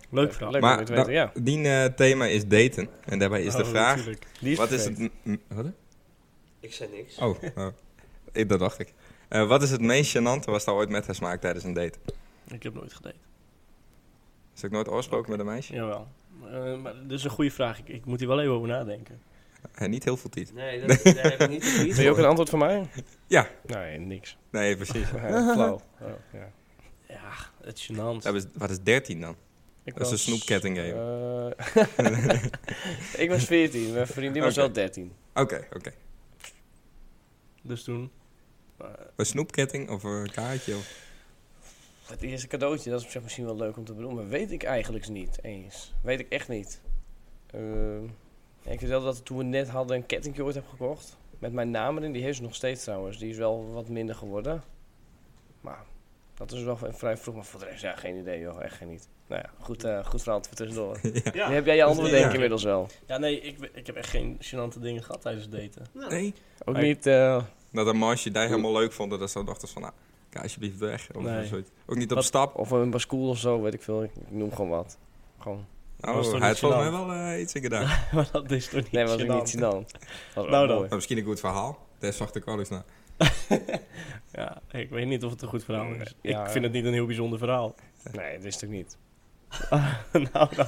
Leuk verhaal.
Leuk om
maar
je te weten,
dat-
ja.
die eh, thema is daten. En daarbij is de
Oh,
vraag...
natuurlijk.
Die
Wat is het...
vergeten.
m- m- Wat?
Ik zei niks.
Oh, oh. Ik- dat dacht ik. Eh, wat is het meest gênante was daar ooit met haar smaakt tijdens een date?
Ik heb nooit gedate.
Is ik nooit oorsproken met een meisje?
Jawel. Eh, maar dat is een goede vraag. Ik, ik moet hier wel even over nadenken.
En niet heel veel tijd.
Nee, dat, daar heb ik niet te
Wil je ook een antwoord van mij?
Ja.
Nee, niks.
Nee, (laughs) precies.
Ja, Flauw. Oh, ja.
Ja, het is gênant.
Dat is- Wat is 13 dan?
Ik
Dat is een
was,
snoepketting game. (laughs)
eh, (laughs) ik was 14, mijn vriendin was
Oké.
wel 13.
Oké, oké.
Dus toen...
Een snoepketting of een kaartje? Of...
Het eerste cadeautje, dat is op zich misschien wel leuk om te benoemen. Weet ik eigenlijk niet eens. Weet ik echt niet. Ehm, ik vertelde dat toen we net hadden een kettingje ooit heb gekocht. Met mijn naam erin. Die heeft ze nog steeds trouwens. Die is wel wat minder geworden. Maar Dat is wel vrij vroeg, maar voor de rest, ja, geen idee joh, echt geen niet. Nou ja, goed, eh, goed verhaal voor tussendoor.
Ja.
Nu heb jij je antwoord denk ik
Ja.
inmiddels wel.
Ja, nee, ik, ik heb echt geen gênante dingen gehad tijdens het daten. (laughs)
Nee.
Ook
Nee.
niet, eh,
Dat een meisje die helemaal leuk vond, dat ze dachten van, ah, ga alsjeblieft weg. Of
Nee.
zoiets. Ook niet op
Wat-
stap.
of een bascool of zo, weet ik veel. Ik, ik noem gewoon wat. Gewoon.
was
Nou,
toch
hij
niet
had volgens
gênant?
mij wel eh, iets in gedaan.
maar dat is toch niet
Nee, was ik
gênant?
niet gênant. Was
Nou
nou
dan.
mooi.
Maar misschien een goed verhaal. Daar zag ik wel eens naar.
(laughs) Ja, ik weet niet of het een goed verhaal is.
Ja.
ik vind het niet een heel bijzonder verhaal. (laughs)
Nee, dat is toch niet.
nou, dan.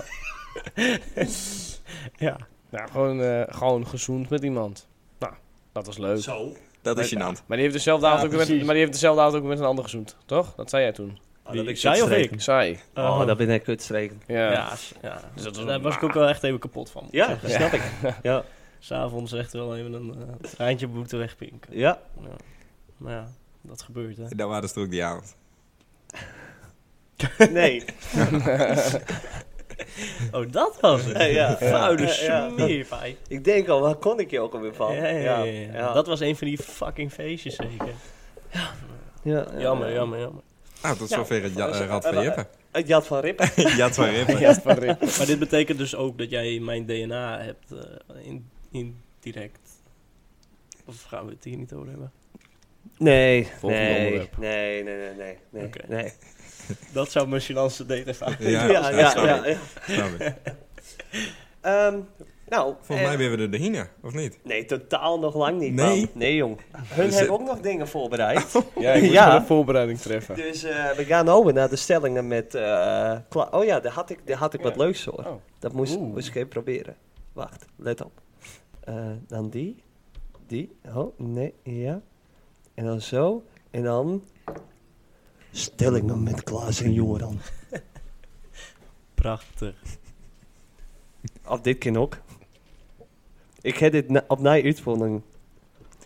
ja.
Nou, gewoon, eh, gewoon gezoend met iemand. Nou, dat was leuk.
Zo.
Dat is
Maar-
gênant.
Maar die heeft dezelfde
Ja,
avond ook weer met,
precies.
maar die heeft dezelfde avond ook met een ander gezoend, toch? Dat zei jij toen.
Wie,
dat ik
zij of ik?
kutstreken.
Saai.
Oh,
Eh,
dat ben ik kutstreken.
Ja.
Ja, s- ja.
Dus dat was-
daar was ik ook wel echt even kapot van.
Ja, dat snap ik. Ja,
S'avonds echt wel even een eh, treintje boete wegpinken.
ja.
Ja. Nou ja, dat gebeurt hè.
Dat waren ze ook die avond.
nee.
(laughs) (laughs) Oh, dat was het?
Ja, ja.
Vuile
Ja, ja.
smeer, pij.
Ik denk al, waar kon ik je ook alweer van?
Ja, ja, ja.
ja.
Dat was een van die fucking feestjes zeker.
Ja, ja,
Jammer,
ja.
jammer, jammer.
Nou, tot zover het ja,
dat is-
eh, Rad van
eh,
Jippen.
Het Jad van Rippen.
(laughs)
(laughs) Jad van Jippen.
(laughs) Ja, van Rick.
Maar dit betekent dus ook dat jij mijn DNA hebt eh, in, indirect. Of gaan we het hier niet over hebben?
Nee,
Volgende
nee,
onderwerp.
nee, nee, nee, nee, nee,
Oké.
nee.
Dat zou mijn Chilanse data gaan.
Ja,
ja, ja,
snap
ja,
ik,
ja.
snap ik.
Ehm, nou,
Volgens mij
eh,
ben we er de hine, of niet?
nee, totaal nog lang niet,
Nee?
man. Nee,
(laughs)
jong. Hun
Dus, eh,
hebben ook nog dingen voorbereid.
Ja, ik moet
Ja.
gewoon een voorbereiding treffen.
Dus eh, we gaan over naar de stellingen met... eh, Kla- oh ja, daar had ik, daar had ik wat
Ja.
leuks hoor.
Oh.
Dat moest,
Oeh.
moest ik even proberen. Wacht, let op. Eh, dan die. Die. Oh, nee, ja. En dan zo. En dan... Stellingen met Klaas en Joran.
Prachtig.
Of dit kind ook. Ik heb dit na- op mij uitvonden.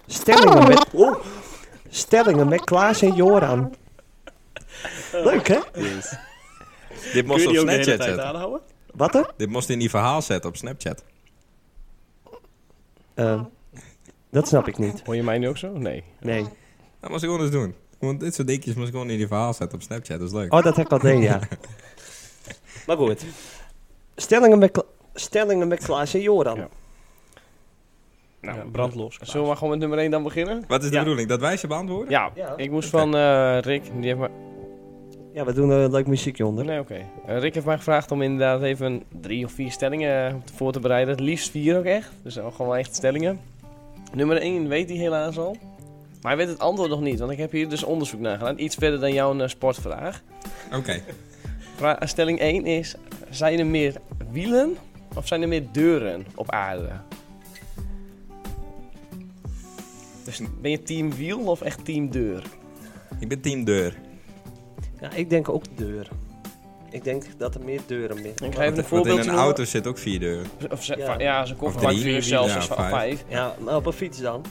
Stellingen met... Oh. Stellingen met Klaas en Joran. Leuk, hè?
Yes.
Dit
Kun
moest
je
op
die ook de hele
Snapchat
tijd
zetten.
aanhouden?
Wat er?
Dit moest in die verhaal zetten op Snapchat.
Ehm, dat snap ik niet.
Hoor je mij nu ook zo? Nee.
Nee.
Dat moest ik gewoon eens doen. Want dit soort dingetjes moest ik gewoon in die verhaal zetten op Snapchat. Dat is leuk.
Oh, dat heb ik al deed, ja. maar goed. Stellingen met, Kla- stellingen met Klaas en Joran.
Ja. Nou,
ja, brandlos.
Zullen we maar gewoon met nummer 1 dan beginnen?
Wat is de
Ja.
bedoeling? Dat wij ze beantwoorden?
Ja,
Ja.
ik moest
Oké.
van eh, Rick, die heeft maar...
Ja, we doen er leuk muziekje onder.
Nee, oké. Eh, Rick heeft mij gevraagd om inderdaad even drie of vier stellingen eh, voor te bereiden. Het liefst vier ook echt. Dus ook gewoon echt stellingen. Nummer 1 weet hij helaas al. Maar hij weet het antwoord nog niet, want ik heb hier dus onderzoek naar gedaan. Iets verder dan jouw eh, sportvraag.
Oké.
Vra- eh, stelling 1 is, zijn er meer wielen of zijn er meer deuren op aarde? Dus ben je team wiel of echt team deur?
Ik ben team deur.
Ja, ik denk ook deur. Ik denk dat er meer deuren meer.
Ik ga
Want,
even een
want in
voorbeeld
een auto zit ook vier deuren.
Of ze,
Ja.
va- ja, ze komt
Of
van vaak
drie,
vier
vier,
zelfs,
ja,
of va-
vijf.
vijf.
Ja, maar op een fiets dan.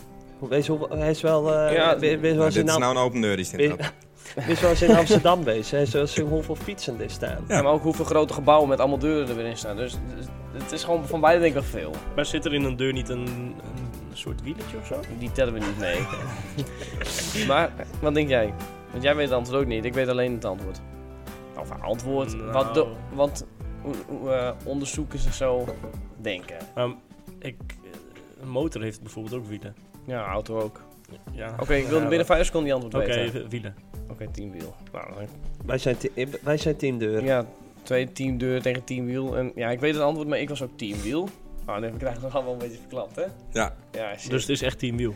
Hij is, hoe- hij is wel... eh
Ja,
ja, wees, wel
Nou,
eens
dit
in
is
Am-
nou een open deur die
wees-
staat.
(laughs) wees wel eens in Amsterdam bezig. Hij is wel eens in hoeveel fietsen er staan.
Ja.
Ja, maar ook hoeveel grote gebouwen met allemaal deuren er weer in staan. Dus dus het is gewoon van beide denk ik wel veel.
Maar zit er in een deur niet een, een soort wieletje of zo?
Die tellen we niet mee. maar wat denk jij? Want jij weet het antwoord ook niet. Ik weet alleen het antwoord. Of antwoord.
Nou.
Wat, de- wat hoe- hoe, eh, onderzoekers en zo denken.
Ehm, ik, eh, een motor heeft bijvoorbeeld ook wielen.
Ja, auto ook.
Ja.
Oké, ik wilde
Ja,
binnen vijf seconden die antwoord
Oké,
weten.
w- wielen.
Oké, teamwiel. Nou, dan
Wij, zijn te- eh, wij zijn team deur.
Ja, twee teamdeur tegen teamwiel. En ja, ik weet het antwoord, maar ik was ook teamwiel. Oh, dan heb ik het eigenlijk nog wel een beetje verklapt, hè?
Ja.
Ja, shit.
Dus het is echt teamwiel.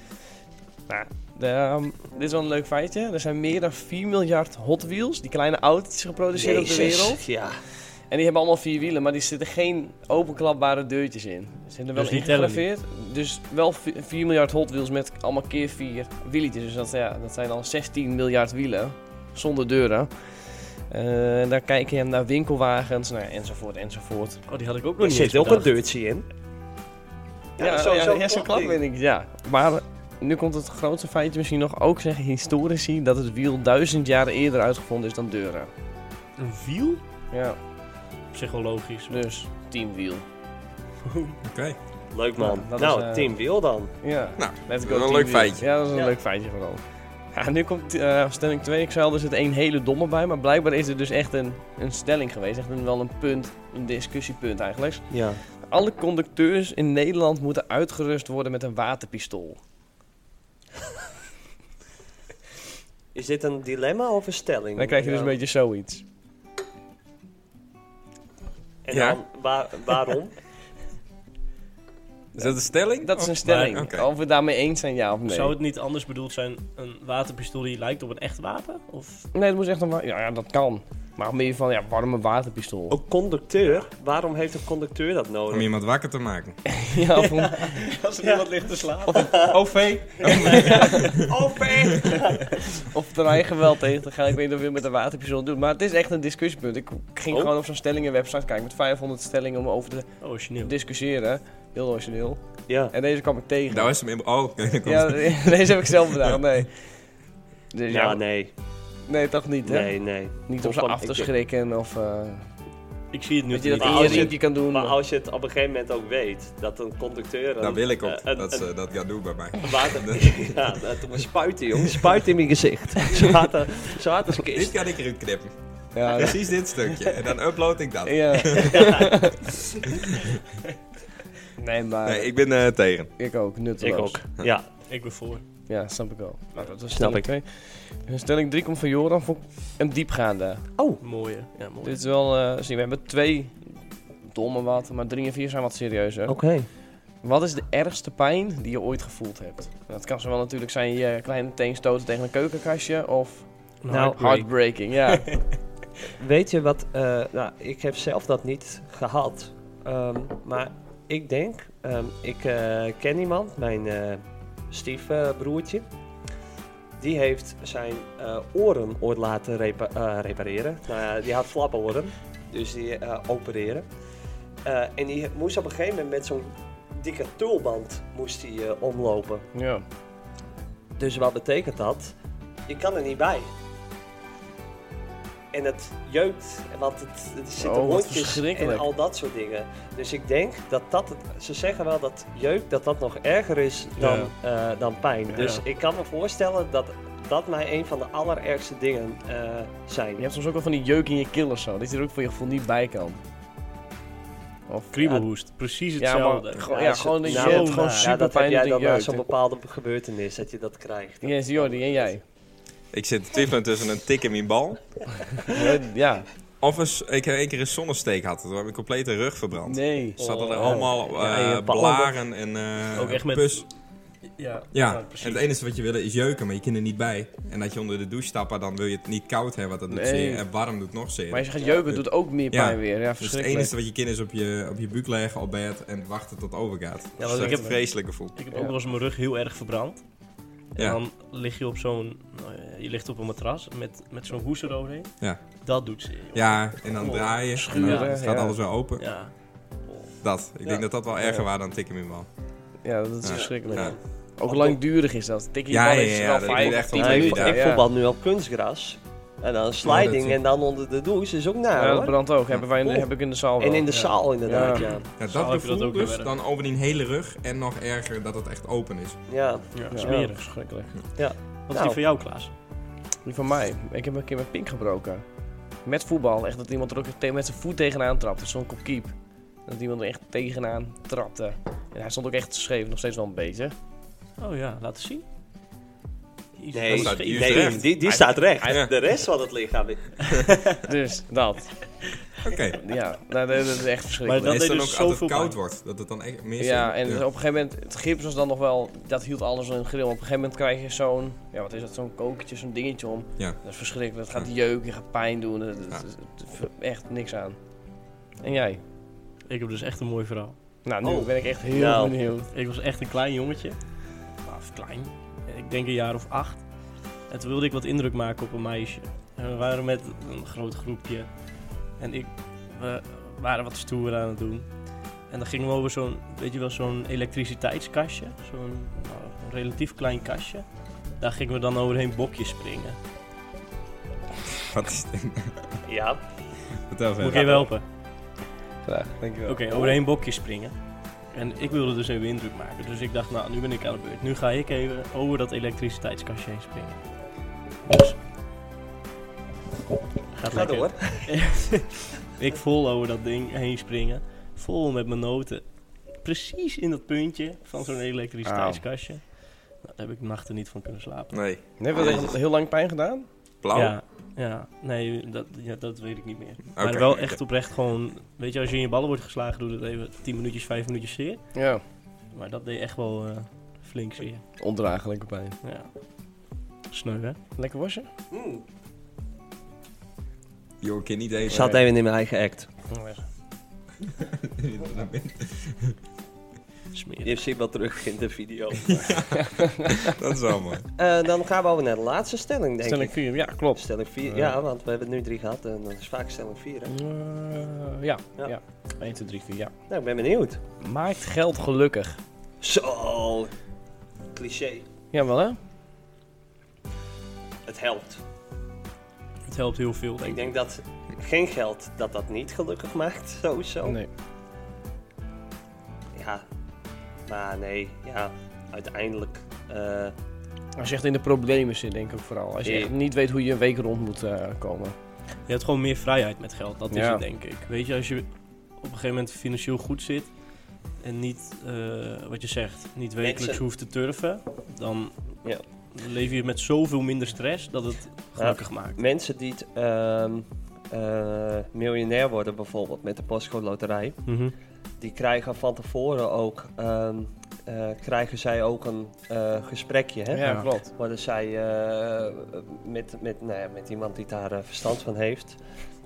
De, ehm, dit is wel een leuk feitje. Er zijn meer dan 4 miljard Hot Wheels, die kleine autootjes geproduceerd op de
Jezus,
wereld.
Ja.
En die hebben allemaal vier wielen, maar die zitten geen openklapbare deurtjes in. Ze zijn er wel
Dus
in
die tellen
gegraveerd. Dus wel vi- 4 miljard Hot Wheels met allemaal keer 4 wieltjes. Dus dat, ja, dat zijn dan 16 miljard wielen zonder deuren. Eh, en daar kijk je naar winkelwagens, nou, ja, enzovoort, enzovoort.
Oh, die had ik ook nog
Er
niet eens
zit ook een
bedacht.
deurtje in.
Ja, ja, zo, klap weet ik, ja. Maar nu komt het grootste feitje misschien nog. Ook zeggen historici dat het wiel duizend jaar eerder uitgevonden is dan deuren.
Een wiel?
Ja,
Psychologisch.
dus teamwiel.
Oké.
Leuk man.
Ja, dat
nou,
is, eh,
team wiel dan.
Ja,
Nou,
let's
dat is
go
wel een leuk
teamwiel.
feitje.
Ja, dat is een
Ja.
leuk feitje vooral. Ja, nu komt eh, stelling 2. Ik zei er zit één hele domme bij. Maar blijkbaar is er dus echt een, een stelling geweest. Echt een, wel een punt, een discussiepunt eigenlijk.
Ja.
Alle conducteurs in Nederland moeten uitgerust worden met een waterpistool.
Is dit een dilemma of een stelling?
Dan krijg je dus
Ja.
een beetje zoiets.
En
Ja.
dan, waar- waarom?
Is dat een stelling? Oh,
Dat is
Of-
een stelling.
Nee, oké.
Of we daarmee eens zijn, ja of nee.
Zou het niet anders bedoeld zijn, een waterpistool die lijkt op een echt wapen? Of
Nee, het moet echt een... wa- Ja, ja, dat kan. Maar meer van, ja, waarom een waterpistool?
Ook conducteur? Waarom heeft een conducteur dat
Om
nodig?
iemand wakker te maken.
(laughs) Ja, of een-
als er iemand ligt te slapen?
OV.
Of er eigen geweld tegen te gaan. Ik weet niet of je het met een waterpistool doet. Maar het is echt een discussiepunt. Ik ging
Oh.
gewoon op zo'n stellingenwebsite kijken. Met 500 stellingen om over te
Oh, origineel.
discussiëren. Heel origineel.
Ja.
En deze kwam ik tegen.
Nou is hem in... Oh, (laughs) oké, daar komt
ja, (laughs)
het.
deze heb ik zelf gedaan. Nee. Dus ja,
Ja,
nee.
nee.
toch niet, hè?
Nee, nee.
Niet om ze
Of van-
af te
ik-
schrikken of... eh,
Ik zie het nu
dat je dat
niet. Ah,
in
Maar
je
als je-
riempje kan doen.
Maar als je het op een gegeven moment ook weet dat een conducteur. Een,
Daar wil ik op,
eh, een-
dat ze dat gaat doen bij mij.
een water.
(laughs)
(laughs) ja, dat doet me spuiten, jongen. Spuit in mijn (laughs) gezicht. Zo hard als- zo hard als
Dit
kist.
kan ik eruit knippen.
(laughs)
Ja, dat-
Precies dit stukje. En dan upload ik dat.
ja. (laughs) nee, maar
Nee, ik ben eh, tegen.
ik ook. Nutteloos.
Ik ook. Ja,
Ik ben voor.
Ja, snap ik wel. Nou, dat was
Snap
stelling 2. Stelling 3 komt van Joran. Vond ik een diepgaande.
Oh, Mooie. Ja, mooi.
Dit is wel... eh, zie, we hebben twee domme wat, maar drie en vier zijn wat serieuzer.
oké.
Wat is de ergste pijn die je ooit gevoeld hebt? Dat kan zowel natuurlijk zijn je kleine teen stoten tegen een keukenkastje of
Een
nou,
heartbreak.
heartbreaking. Ja,
(laughs) Weet je wat? eh, nou, ik heb zelf dat niet gehad. Ehm, maar ik denk, ehm, ik eh, ken iemand, mijn eh, stiefbroertje. Die heeft zijn eh, oren ooit laten repa- eh, repareren. Nou ja, die had flapperoren, dus die eh, opereren. Eh, en die moest op een gegeven moment met zo'n dikke tulband moest die, eh, omlopen.
ja.
Dus wat betekent dat? Je kan er niet bij. En het jeukt, want het, er zitten
Oh, wat
hondjes
verschrikkelijk.
en al dat soort dingen. Dus ik denk dat dat, het- ze zeggen wel dat jeuk, dat dat nog erger is dan, eh, dan pijn.
Ja,
dus
ja.
ik kan me voorstellen dat dat mij een van de allerergste dingen eh, zijn.
Je hebt soms ook wel van die jeuk in je keel of zo. Dat je er ook voor je gevoel niet bij kan. Of
Kriebelhoest. Precies
Ja, maar
hetzelfde.
gewoon,
Ja,
ja,
is het-
gewoon dat je
nou,
hebt gewoon
ja,
super
ja, dat heb
pijn dat
jij
het
dan na
jeukt.
zo'n bepaalde gebeurtenis, dat je dat krijgt.
Yes, Jordi, en
(laughs)
jij?
Ik zit te twijfelen tussen een tik in mijn bal.
Ja.
Of eens, ik heb één keer een zonnesteek had. Toen heb ik compleet de rug verbrand.
Nee.
Zaten er
Oh.
allemaal eh,
Ja, je pa-
blaren en eh
Ook echt met-
pus.
Ja,
Ja,
precies.
en het enige wat je wil is jeuken, maar je kan er niet bij. En dat je onder de douche stapt, dan wil je het niet koud hebben, want dat doet
Nee.
zeer. En warm doet nog zeer.
Maar als je gaat jeuken, doet ook meer
Ja.
pijn weer. Ja,
dus het
verschrikkelijk.
enige wat je kind is op je, op je buik leggen op bed en wachten tot het overgaat.
want
dat is
ik
echt
heb-
een vreselijk gevoel.
Ik heb
Ja.
ook wel eens mijn rug heel erg verbrand. En
Ja.
dan lig je op zo'n... nou ja, je ligt op een matras met, met zo'n hoes eroverheen.
Ja.
Dat doet ze. joh.
Ja, en dan
Oh,
draai je, en
schuren,
dan gaat
ja.
alles weer open.
Ja.
Dat, ik
Ja.
denk dat dat wel erger
Ja.
was dan tikken in bal.
Ja, dat is
Ja.
verschrikkelijk.
Ja.
Ook langdurig is dat. Tik je
Ja,
bal
ja,
is
ja,
wel
dat
vijf
duurt
of
echt
tien
wel
Nou, ik
minuten.
even.
ik
ja.
voetbal nu op kunstgras. En dan sliding
is-
en dan onder de douche is ook naar
Ja, dat
hoor.
brandt ook. Hebben wij in de-
Oeh.
heb ik in de zaal
En
wel.
in de
Ja.
zaal inderdaad,
Ja.
ja.
Ja,
Zal
dat
ik dat
gevoel
ook weer
dus,
werken?
dan over die hele rug en nog erger dat het echt open is.
Ja,
Ja,
Ja,
smerig.
verschrikkelijk.
Wat is
Nou.
die van jou, Klaas?
Die van mij. Ik heb een keer mijn pink gebroken. Met voetbal. Echt dat iemand er ook echt te- met zijn voet tegenaan trapte. Zo'n kop keep. Dat iemand er echt tegenaan trapte. En hij stond ook echt scheef. Nog steeds wel een beetje.
Oh ja, laten zien. Jezus,
Nee,
dat
staat
scheef.
hier
nee,
recht.
die, die staat recht.
Ja.
De rest van het lichaam. is-
Dus dat.
Oké,
Ja, nou, dat, dat is echt
Maar
verschrikkelijk.
dat
en is
deed
dan
dus
ook als
zoveel
het koud
pijn.
wordt, dat het dan echt meer
Ja,
zin-
en op een gegeven moment, het gips was dan nog wel, dat hield alles in het grill. Maar op een gegeven moment krijg je zo'n, ja wat is dat, zo'n kokertje, zo'n dingetje om.
Ja.
Dat is verschrikkelijk, dat gaat
Ja.
jeuken, je gaat pijn doen, dat, dat-
Ja.
dat- dat- echt niks aan. En jij?
Ik heb dus echt een mooi verhaal.
Nou, nu
Oh.
ben ik echt heel
Nou. Ah,
benieuwd.
Ik was echt een klein jongetje. Nou, Of klein. Ik denk een jaar of acht. En toen wilde ik wat indruk maken op een meisje. En we waren met een groot groepje. En ik, we waren wat stoer aan het doen. En dan gingen we over zo'n, weet je wel, zo'n elektriciteitskastje. Zo'n nou, een relatief klein kastje. Daar gingen we dan overheen bokjes springen.
Wat is dit?
Ja,
Vertel
Moet ik
verder.
even helpen?
Graag, dankjewel.
Oké, overheen bokje springen. En ik wilde dus even indruk maken. Dus ik dacht, nou, nu ben ik aan de beurt. Nu ga ik even over dat elektriciteitskastje heen springen. Dus. Gaat
Ga
lekker.
door.
(laughs) Ik vol over dat ding heen springen. Vol met mijn noten. Precies in dat puntje van zo'n elektriciteitskastje. Nou, daar heb ik nachten niet van kunnen slapen.
Nee,
Heeft dat echt heel lang pijn gedaan?
blauw.
Ja, ja, nee, dat, ja, dat weet ik niet meer.
Oké.
Maar wel echt oprecht gewoon... Weet je, als je in je ballen wordt geslagen, doet het even 10 minuutjes, 5 minuutjes zeer.
Ja,
Maar dat deed echt wel eh, flink zeer.
ondraaglijke pijn.
Ja. Sneu, hè?
Lekker was je?
Joh, ik kan niet even.
Zat even in mijn eigen act.
Smerig.
Je ziet wel terug in de video.
Dat is wel mooi.
Eh, dan gaan we over naar de laatste stelling, denk
Stelling
ik.
4, ja, klopt.
Stelling 4,
Ja.
ja, want we hebben het nu drie gehad en dat is vaak stelling 4. hè.
Eh, ja,
Ja.
ja. 1, 2, 3, 4, ja.
Nou, ik ben benieuwd.
Maakt geld gelukkig?
Zo, cliché.
Jawel, hè?
Het helpt.
Het helpt heel veel, denk
Ik
ik.
denk dat geen geld dat dat niet gelukkig maakt, sowieso.
Nee.
Ja, maar nee, ja, uiteindelijk. eh,
Als je echt in de problemen zit, denk ik ook vooral. Als je
Ja.
echt niet weet hoe je een week rond moet eh, komen.
Je hebt gewoon meer vrijheid met geld, dat is
Ja.
het denk ik. Weet je, als je op een gegeven moment financieel goed zit en niet, eh, wat je zegt, niet wekelijks
Mensen.
hoeft te turven, dan
Ja.
leef je met zoveel minder stress dat het gelukkig maakt.
mensen die het, ehm, eh, miljonair worden, bijvoorbeeld met de Postcode Loterij,
Mhm.
die krijgen van tevoren ook. ehm, eh, krijgen zij ook een eh, gesprekje, hè?
Ja,
Ja.
klopt.
worden zij eh, met, met, nou ja, met iemand die daar eh, verstand van heeft.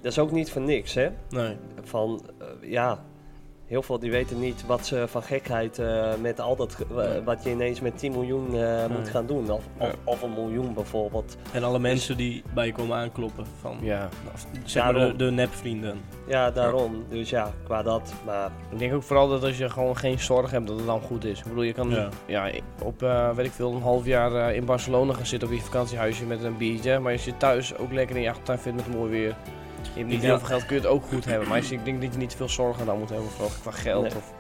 Dat is ook niet voor niks, hè?
Nee,
Van, eh, ja, heel veel die weten niet wat ze van gekheid eh, met al dat, ge- wa- wat je ineens met 10 miljoen eh, moet
Nee.
gaan doen. Of,
Ja.
of, of een miljoen bijvoorbeeld.
en alle mensen die bij je komen aankloppen, van,
Ja.
of, zeg maar de,
Daarom.
de nepvrienden.
Ja, daarom. Dus ja, qua dat. Maar
Ik denk ook vooral dat als je gewoon geen zorg hebt, dat het dan goed is. Ik bedoel, je kan
Ja.
ja. op, eh, weet ik veel, een half jaar eh, in Barcelona gaan zitten op je vakantiehuisje met een biertje. Maar als je thuis ook lekker in je achtertuin vindt met mooi weer. Je hebt niet
Ja.
heel veel geld, kun je het ook goed hebben. Maar als je- ik denk dat je niet te veel zorgen dan moet hebben, vooral qua geld.
Nee.
Of,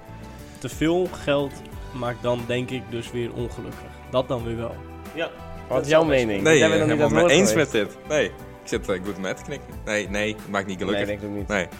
Te veel geld maakt dan denk ik dus weer ongelukkig. Dat dan weer wel.
ja,
wat
is
is jouw
wel best-
mening?
Nee,
Jij
ik
bent
ben het helemaal
nog niet aan
mee
het
eens
woord
met dit. Nee, ik zit eh, goed met knikken. Nee, nee, het maakt niet
geweest.
gelukkig.
Nee, ik denk ik ook niet.
Nee.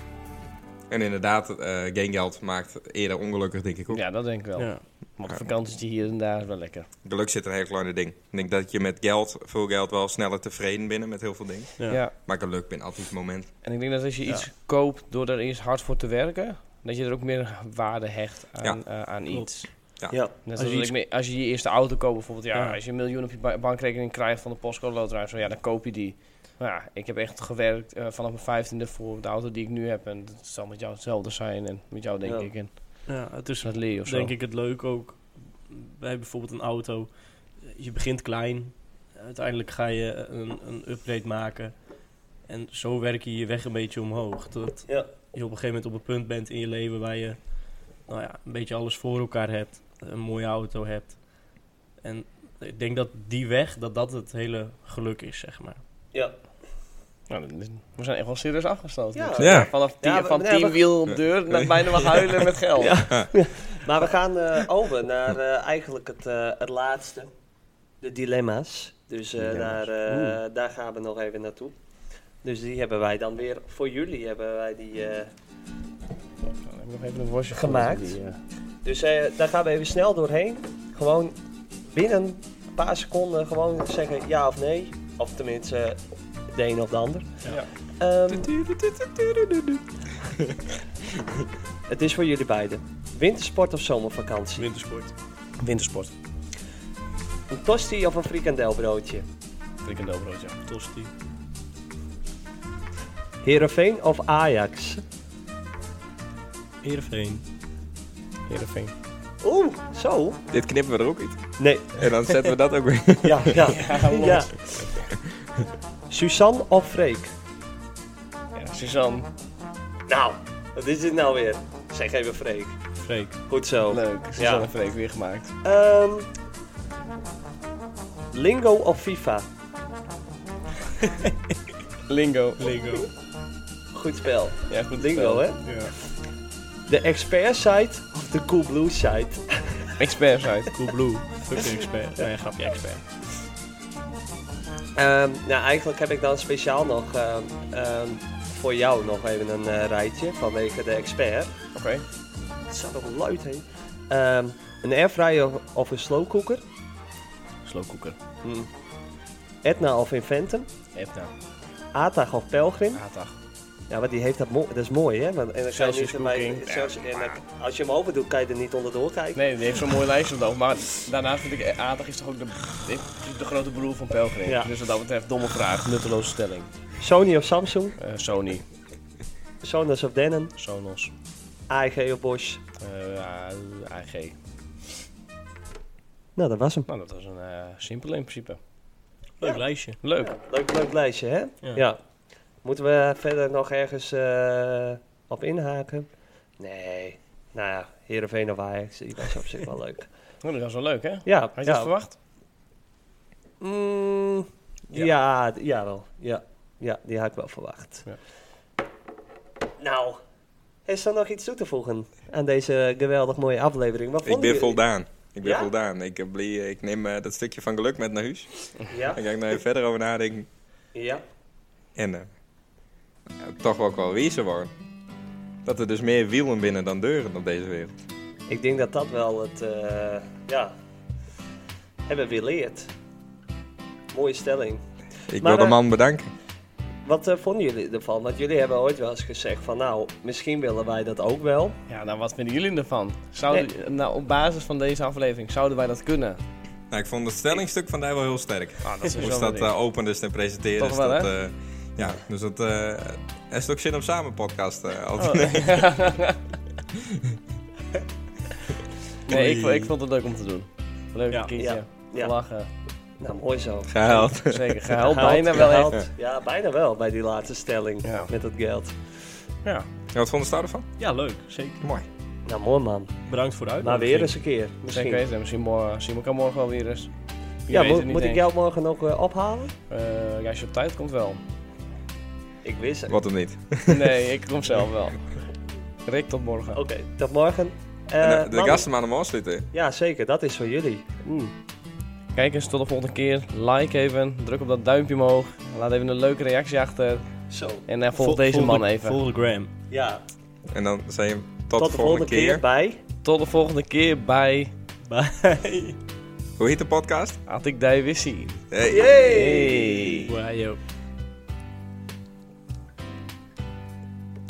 En inderdaad, eh geen geld maakt eerder ongelukkig, denk ik ook.
Ja, dat denk ik wel.
Ja.
Want een vakantietje hier en daar is wel lekker.
Geluk zit een heel kleine ding. Ik denk dat je met geld, veel geld, wel sneller tevreden bent met heel veel dingen.
Ja.
Ja.
Maar geluk bent altijd het moment.
En ik denk dat als je
Ja.
iets koopt door er eerst hard voor te werken, dat je er ook meer waarde hecht aan, eh, aan
Klopt.
iets.
ja.
Net
Als je
als,
iets-
ik me- als je je eerste auto koopt bijvoorbeeld, ja,
Ja.
als je een miljoen op je ba- bankrekening krijgt van de postcode loterij, zo, ja, dan koop je die. Maar ja, ik heb echt gewerkt eh, vanaf mijn vijftiende voor de auto die ik nu heb. En dat zal met jou hetzelfde zijn en met jou denk
Ja.
ik. En
Ja, het is
dat leer je of zo.
denk ik het leuk ook bij bijvoorbeeld een auto. Je begint klein, uiteindelijk ga je een, een upgrade maken. En zo werk je je weg een beetje omhoog. Tot
Ja.
je op een gegeven moment op een punt bent in je leven waar je nou ja, een beetje alles voor elkaar hebt. Een mooie auto hebt. En ik denk dat die weg, dat dat het hele geluk is, zeg maar.
ja.
Nou, dat is- we zijn echt wel serieus afgesloten.
Ja.
Ja.
Vanaf tien,
Ja, we-
van
nee,
tien
we-
wiel op deur naar bijna
(laughs)
we huilen met geld.
Maar we gaan eh, over naar eh, eigenlijk het, eh, het laatste. De dilemma's. Dus eh,
Dilemma's.
daar, eh, daar gaan we nog even naartoe. Dus die hebben wij dan weer voor jullie hebben wij die. eh,
Dan heb Nou, ik nog even een worstje
Gemaakt.
gevonden die, eh,
dus eh, daar gaan we even snel doorheen. Gewoon binnen een paar seconden gewoon zeggen ja of nee. Of tenminste eh, de een of de ander.
Ja.
(laughs) Ehm, het is voor jullie beiden. Wintersport of zomervakantie?
Wintersport.
Wintersport.
Een tosti of een frikandelbroodje?
Frikandelbroodje.
Tosti.
Heerenveen of Ajax?
Heerenveen.
Heerenveen.
Oeh, zo?
Dit knippen we er ook uit.
Nee,
En dan zetten we dat ook (laughs) weer.
(laughs) ja, ja. ja. Suzanne of Freek?
Ja, Suzanne.
Nou, wat is dit nou weer? Zeg even Freek.
Freek.
Goed zo.
Leuk. Suzanne en Freek weer gemaakt.
Ehm, Lingo of FIFA?
Lingo.
Lego.
Goed spel.
Ja, goed
Lingo,
spel.
hè?
Ja.
De expert site of de Coolblue site?
Expert uit. (laughs)
Cool Blue. Fucking expert. Nee, grapje expert.
Ehm, nou, eigenlijk heb ik dan speciaal nog ehm, ehm, voor jou nog even een eh, rijtje vanwege de expert.
Oké.
Het staat op een luid heen. Ehm, een airfryer of een slowcooker.
Slowcooker.
Hm. Etna of Inventum.
Epta.
Atag of Pelgrim.
Atag.
Ja, want die heeft dat, mo- dat is mooi, hè? Want, en dan kan je
Celsius
niet erbij,
cooking.
Celsius- en dan- als je hem open doet, kan je er niet onderdoor kijken.
Nee, die heeft zo'n mooi lijstje op Maar daarnaast vind ik Atag is toch ook de, de grote broer van Pelgrim.
Ja.
Dus wat dat betreft, domme vraag. Nutteloze stelling.
Sony of Samsung.
Eh, Sony.
Sonos of Denon.
Sonos.
AEG of Bosch.
eh, AG.
Nou, dat was hem.
Nou, dat was een eh simpele in principe.
Leuk lijstje.
Leuk.
Ja, leuk, leuk lijstje, hè? Ja.
Ja.
Moeten we verder nog ergens eh, op inhaken? Nee. Nou ja, Heerenveen of Ajax, die was op zich wel
(laughs)
leuk.
Nou, dat was wel leuk, hè? Had
Ja,
je dat
ja.
verwacht?
Mm,
Ja.
ja, d- ja wel. Ja. ja, die had ik wel verwacht.
Ja.
Nou, is er nog iets toe te voegen aan deze geweldig mooie aflevering? Wat
Ik
vonden
ben
jullie-
voldaan. Ik ben
Ja?
voldaan. Ik, eh, blie- ik neem eh, dat stukje van geluk met naar huis.
Ja,
Dan ga ik nog even verder over nadenken.
ja.
En eh, ja, toch ook wel wezen worden. Dat er dus meer wielen binnen dan deuren op deze wereld.
Ik denk dat dat wel het, eh, ja, hebben we weer leerd. Mooie stelling.
Ik
Maar,
wil
eh,
de man bedanken.
Wat eh, vonden jullie ervan? Want jullie hebben ooit wel eens gezegd van nou, misschien willen wij dat ook wel.
Ja, nou, wat vinden jullie ervan? Zouden, nou, op basis van deze aflevering, zouden wij dat kunnen?
Nou, ik vond het stellingstuk van daar wel heel sterk.
Ah, dat is
Hoe ze dat eh, open is en presenteren.
Toch
is
wel,
dat, eh, ja, dus dat eh, er is ook zin om samen podcast. eh,
Oh,
altijd.
Oh. (laughs)
(laughs) nee, ik, vo- ik vond het leuk om te doen. Leuk,
Ja.
een kindje.
Ja. Ja.
Lachen.
Nou, mooi zo.
(laughs) Gehaald.
Zeker, gehuild
Gehaald,
bijna wel
gehaald.
echt.
Ja, bijna wel bij die laatste stelling
Ja.
met dat geld.
Ja.
Ja, Wat vond je daar ervan?
Ja, leuk. Zeker.
Mooi.
Nou, mooi man.
Bedankt voor de
Maar
uitnodiging.
Nou,
weer eens een keer.
Zeker
Misschien.
weten. En Misschien, morgen, Simon kan morgen wel weer eens. Wie
Ja,
weet
moet,
het niet
moet ik
eens.
jou morgen nog eh, ophalen?
Eh, ja, als je op tijd komt wel. (laughs)
Ik wist het. Oké,
Wat of niet?
Nee, ik kom zelf wel. Rick, tot morgen.
tot morgen. Eh,
En, eh, de
mannen-
gasten maar hem afsluiten.
Ja, zeker. Dat is voor jullie. Mm.
Kijk eens, tot de volgende keer. Like even, druk op dat duimpje omhoog. Laat even een leuke reactie achter.
Zo.
En eh, volg deze man even.
Volg de gram. (laughs)
Ja, tot,
En dan zei je hem tot,
de volgende keer, bij.
Tot de volgende keer bij
Hoe heet de podcast? Eh,
Had ik Dijwissie.
Hey.
Hey.
Wow, yo.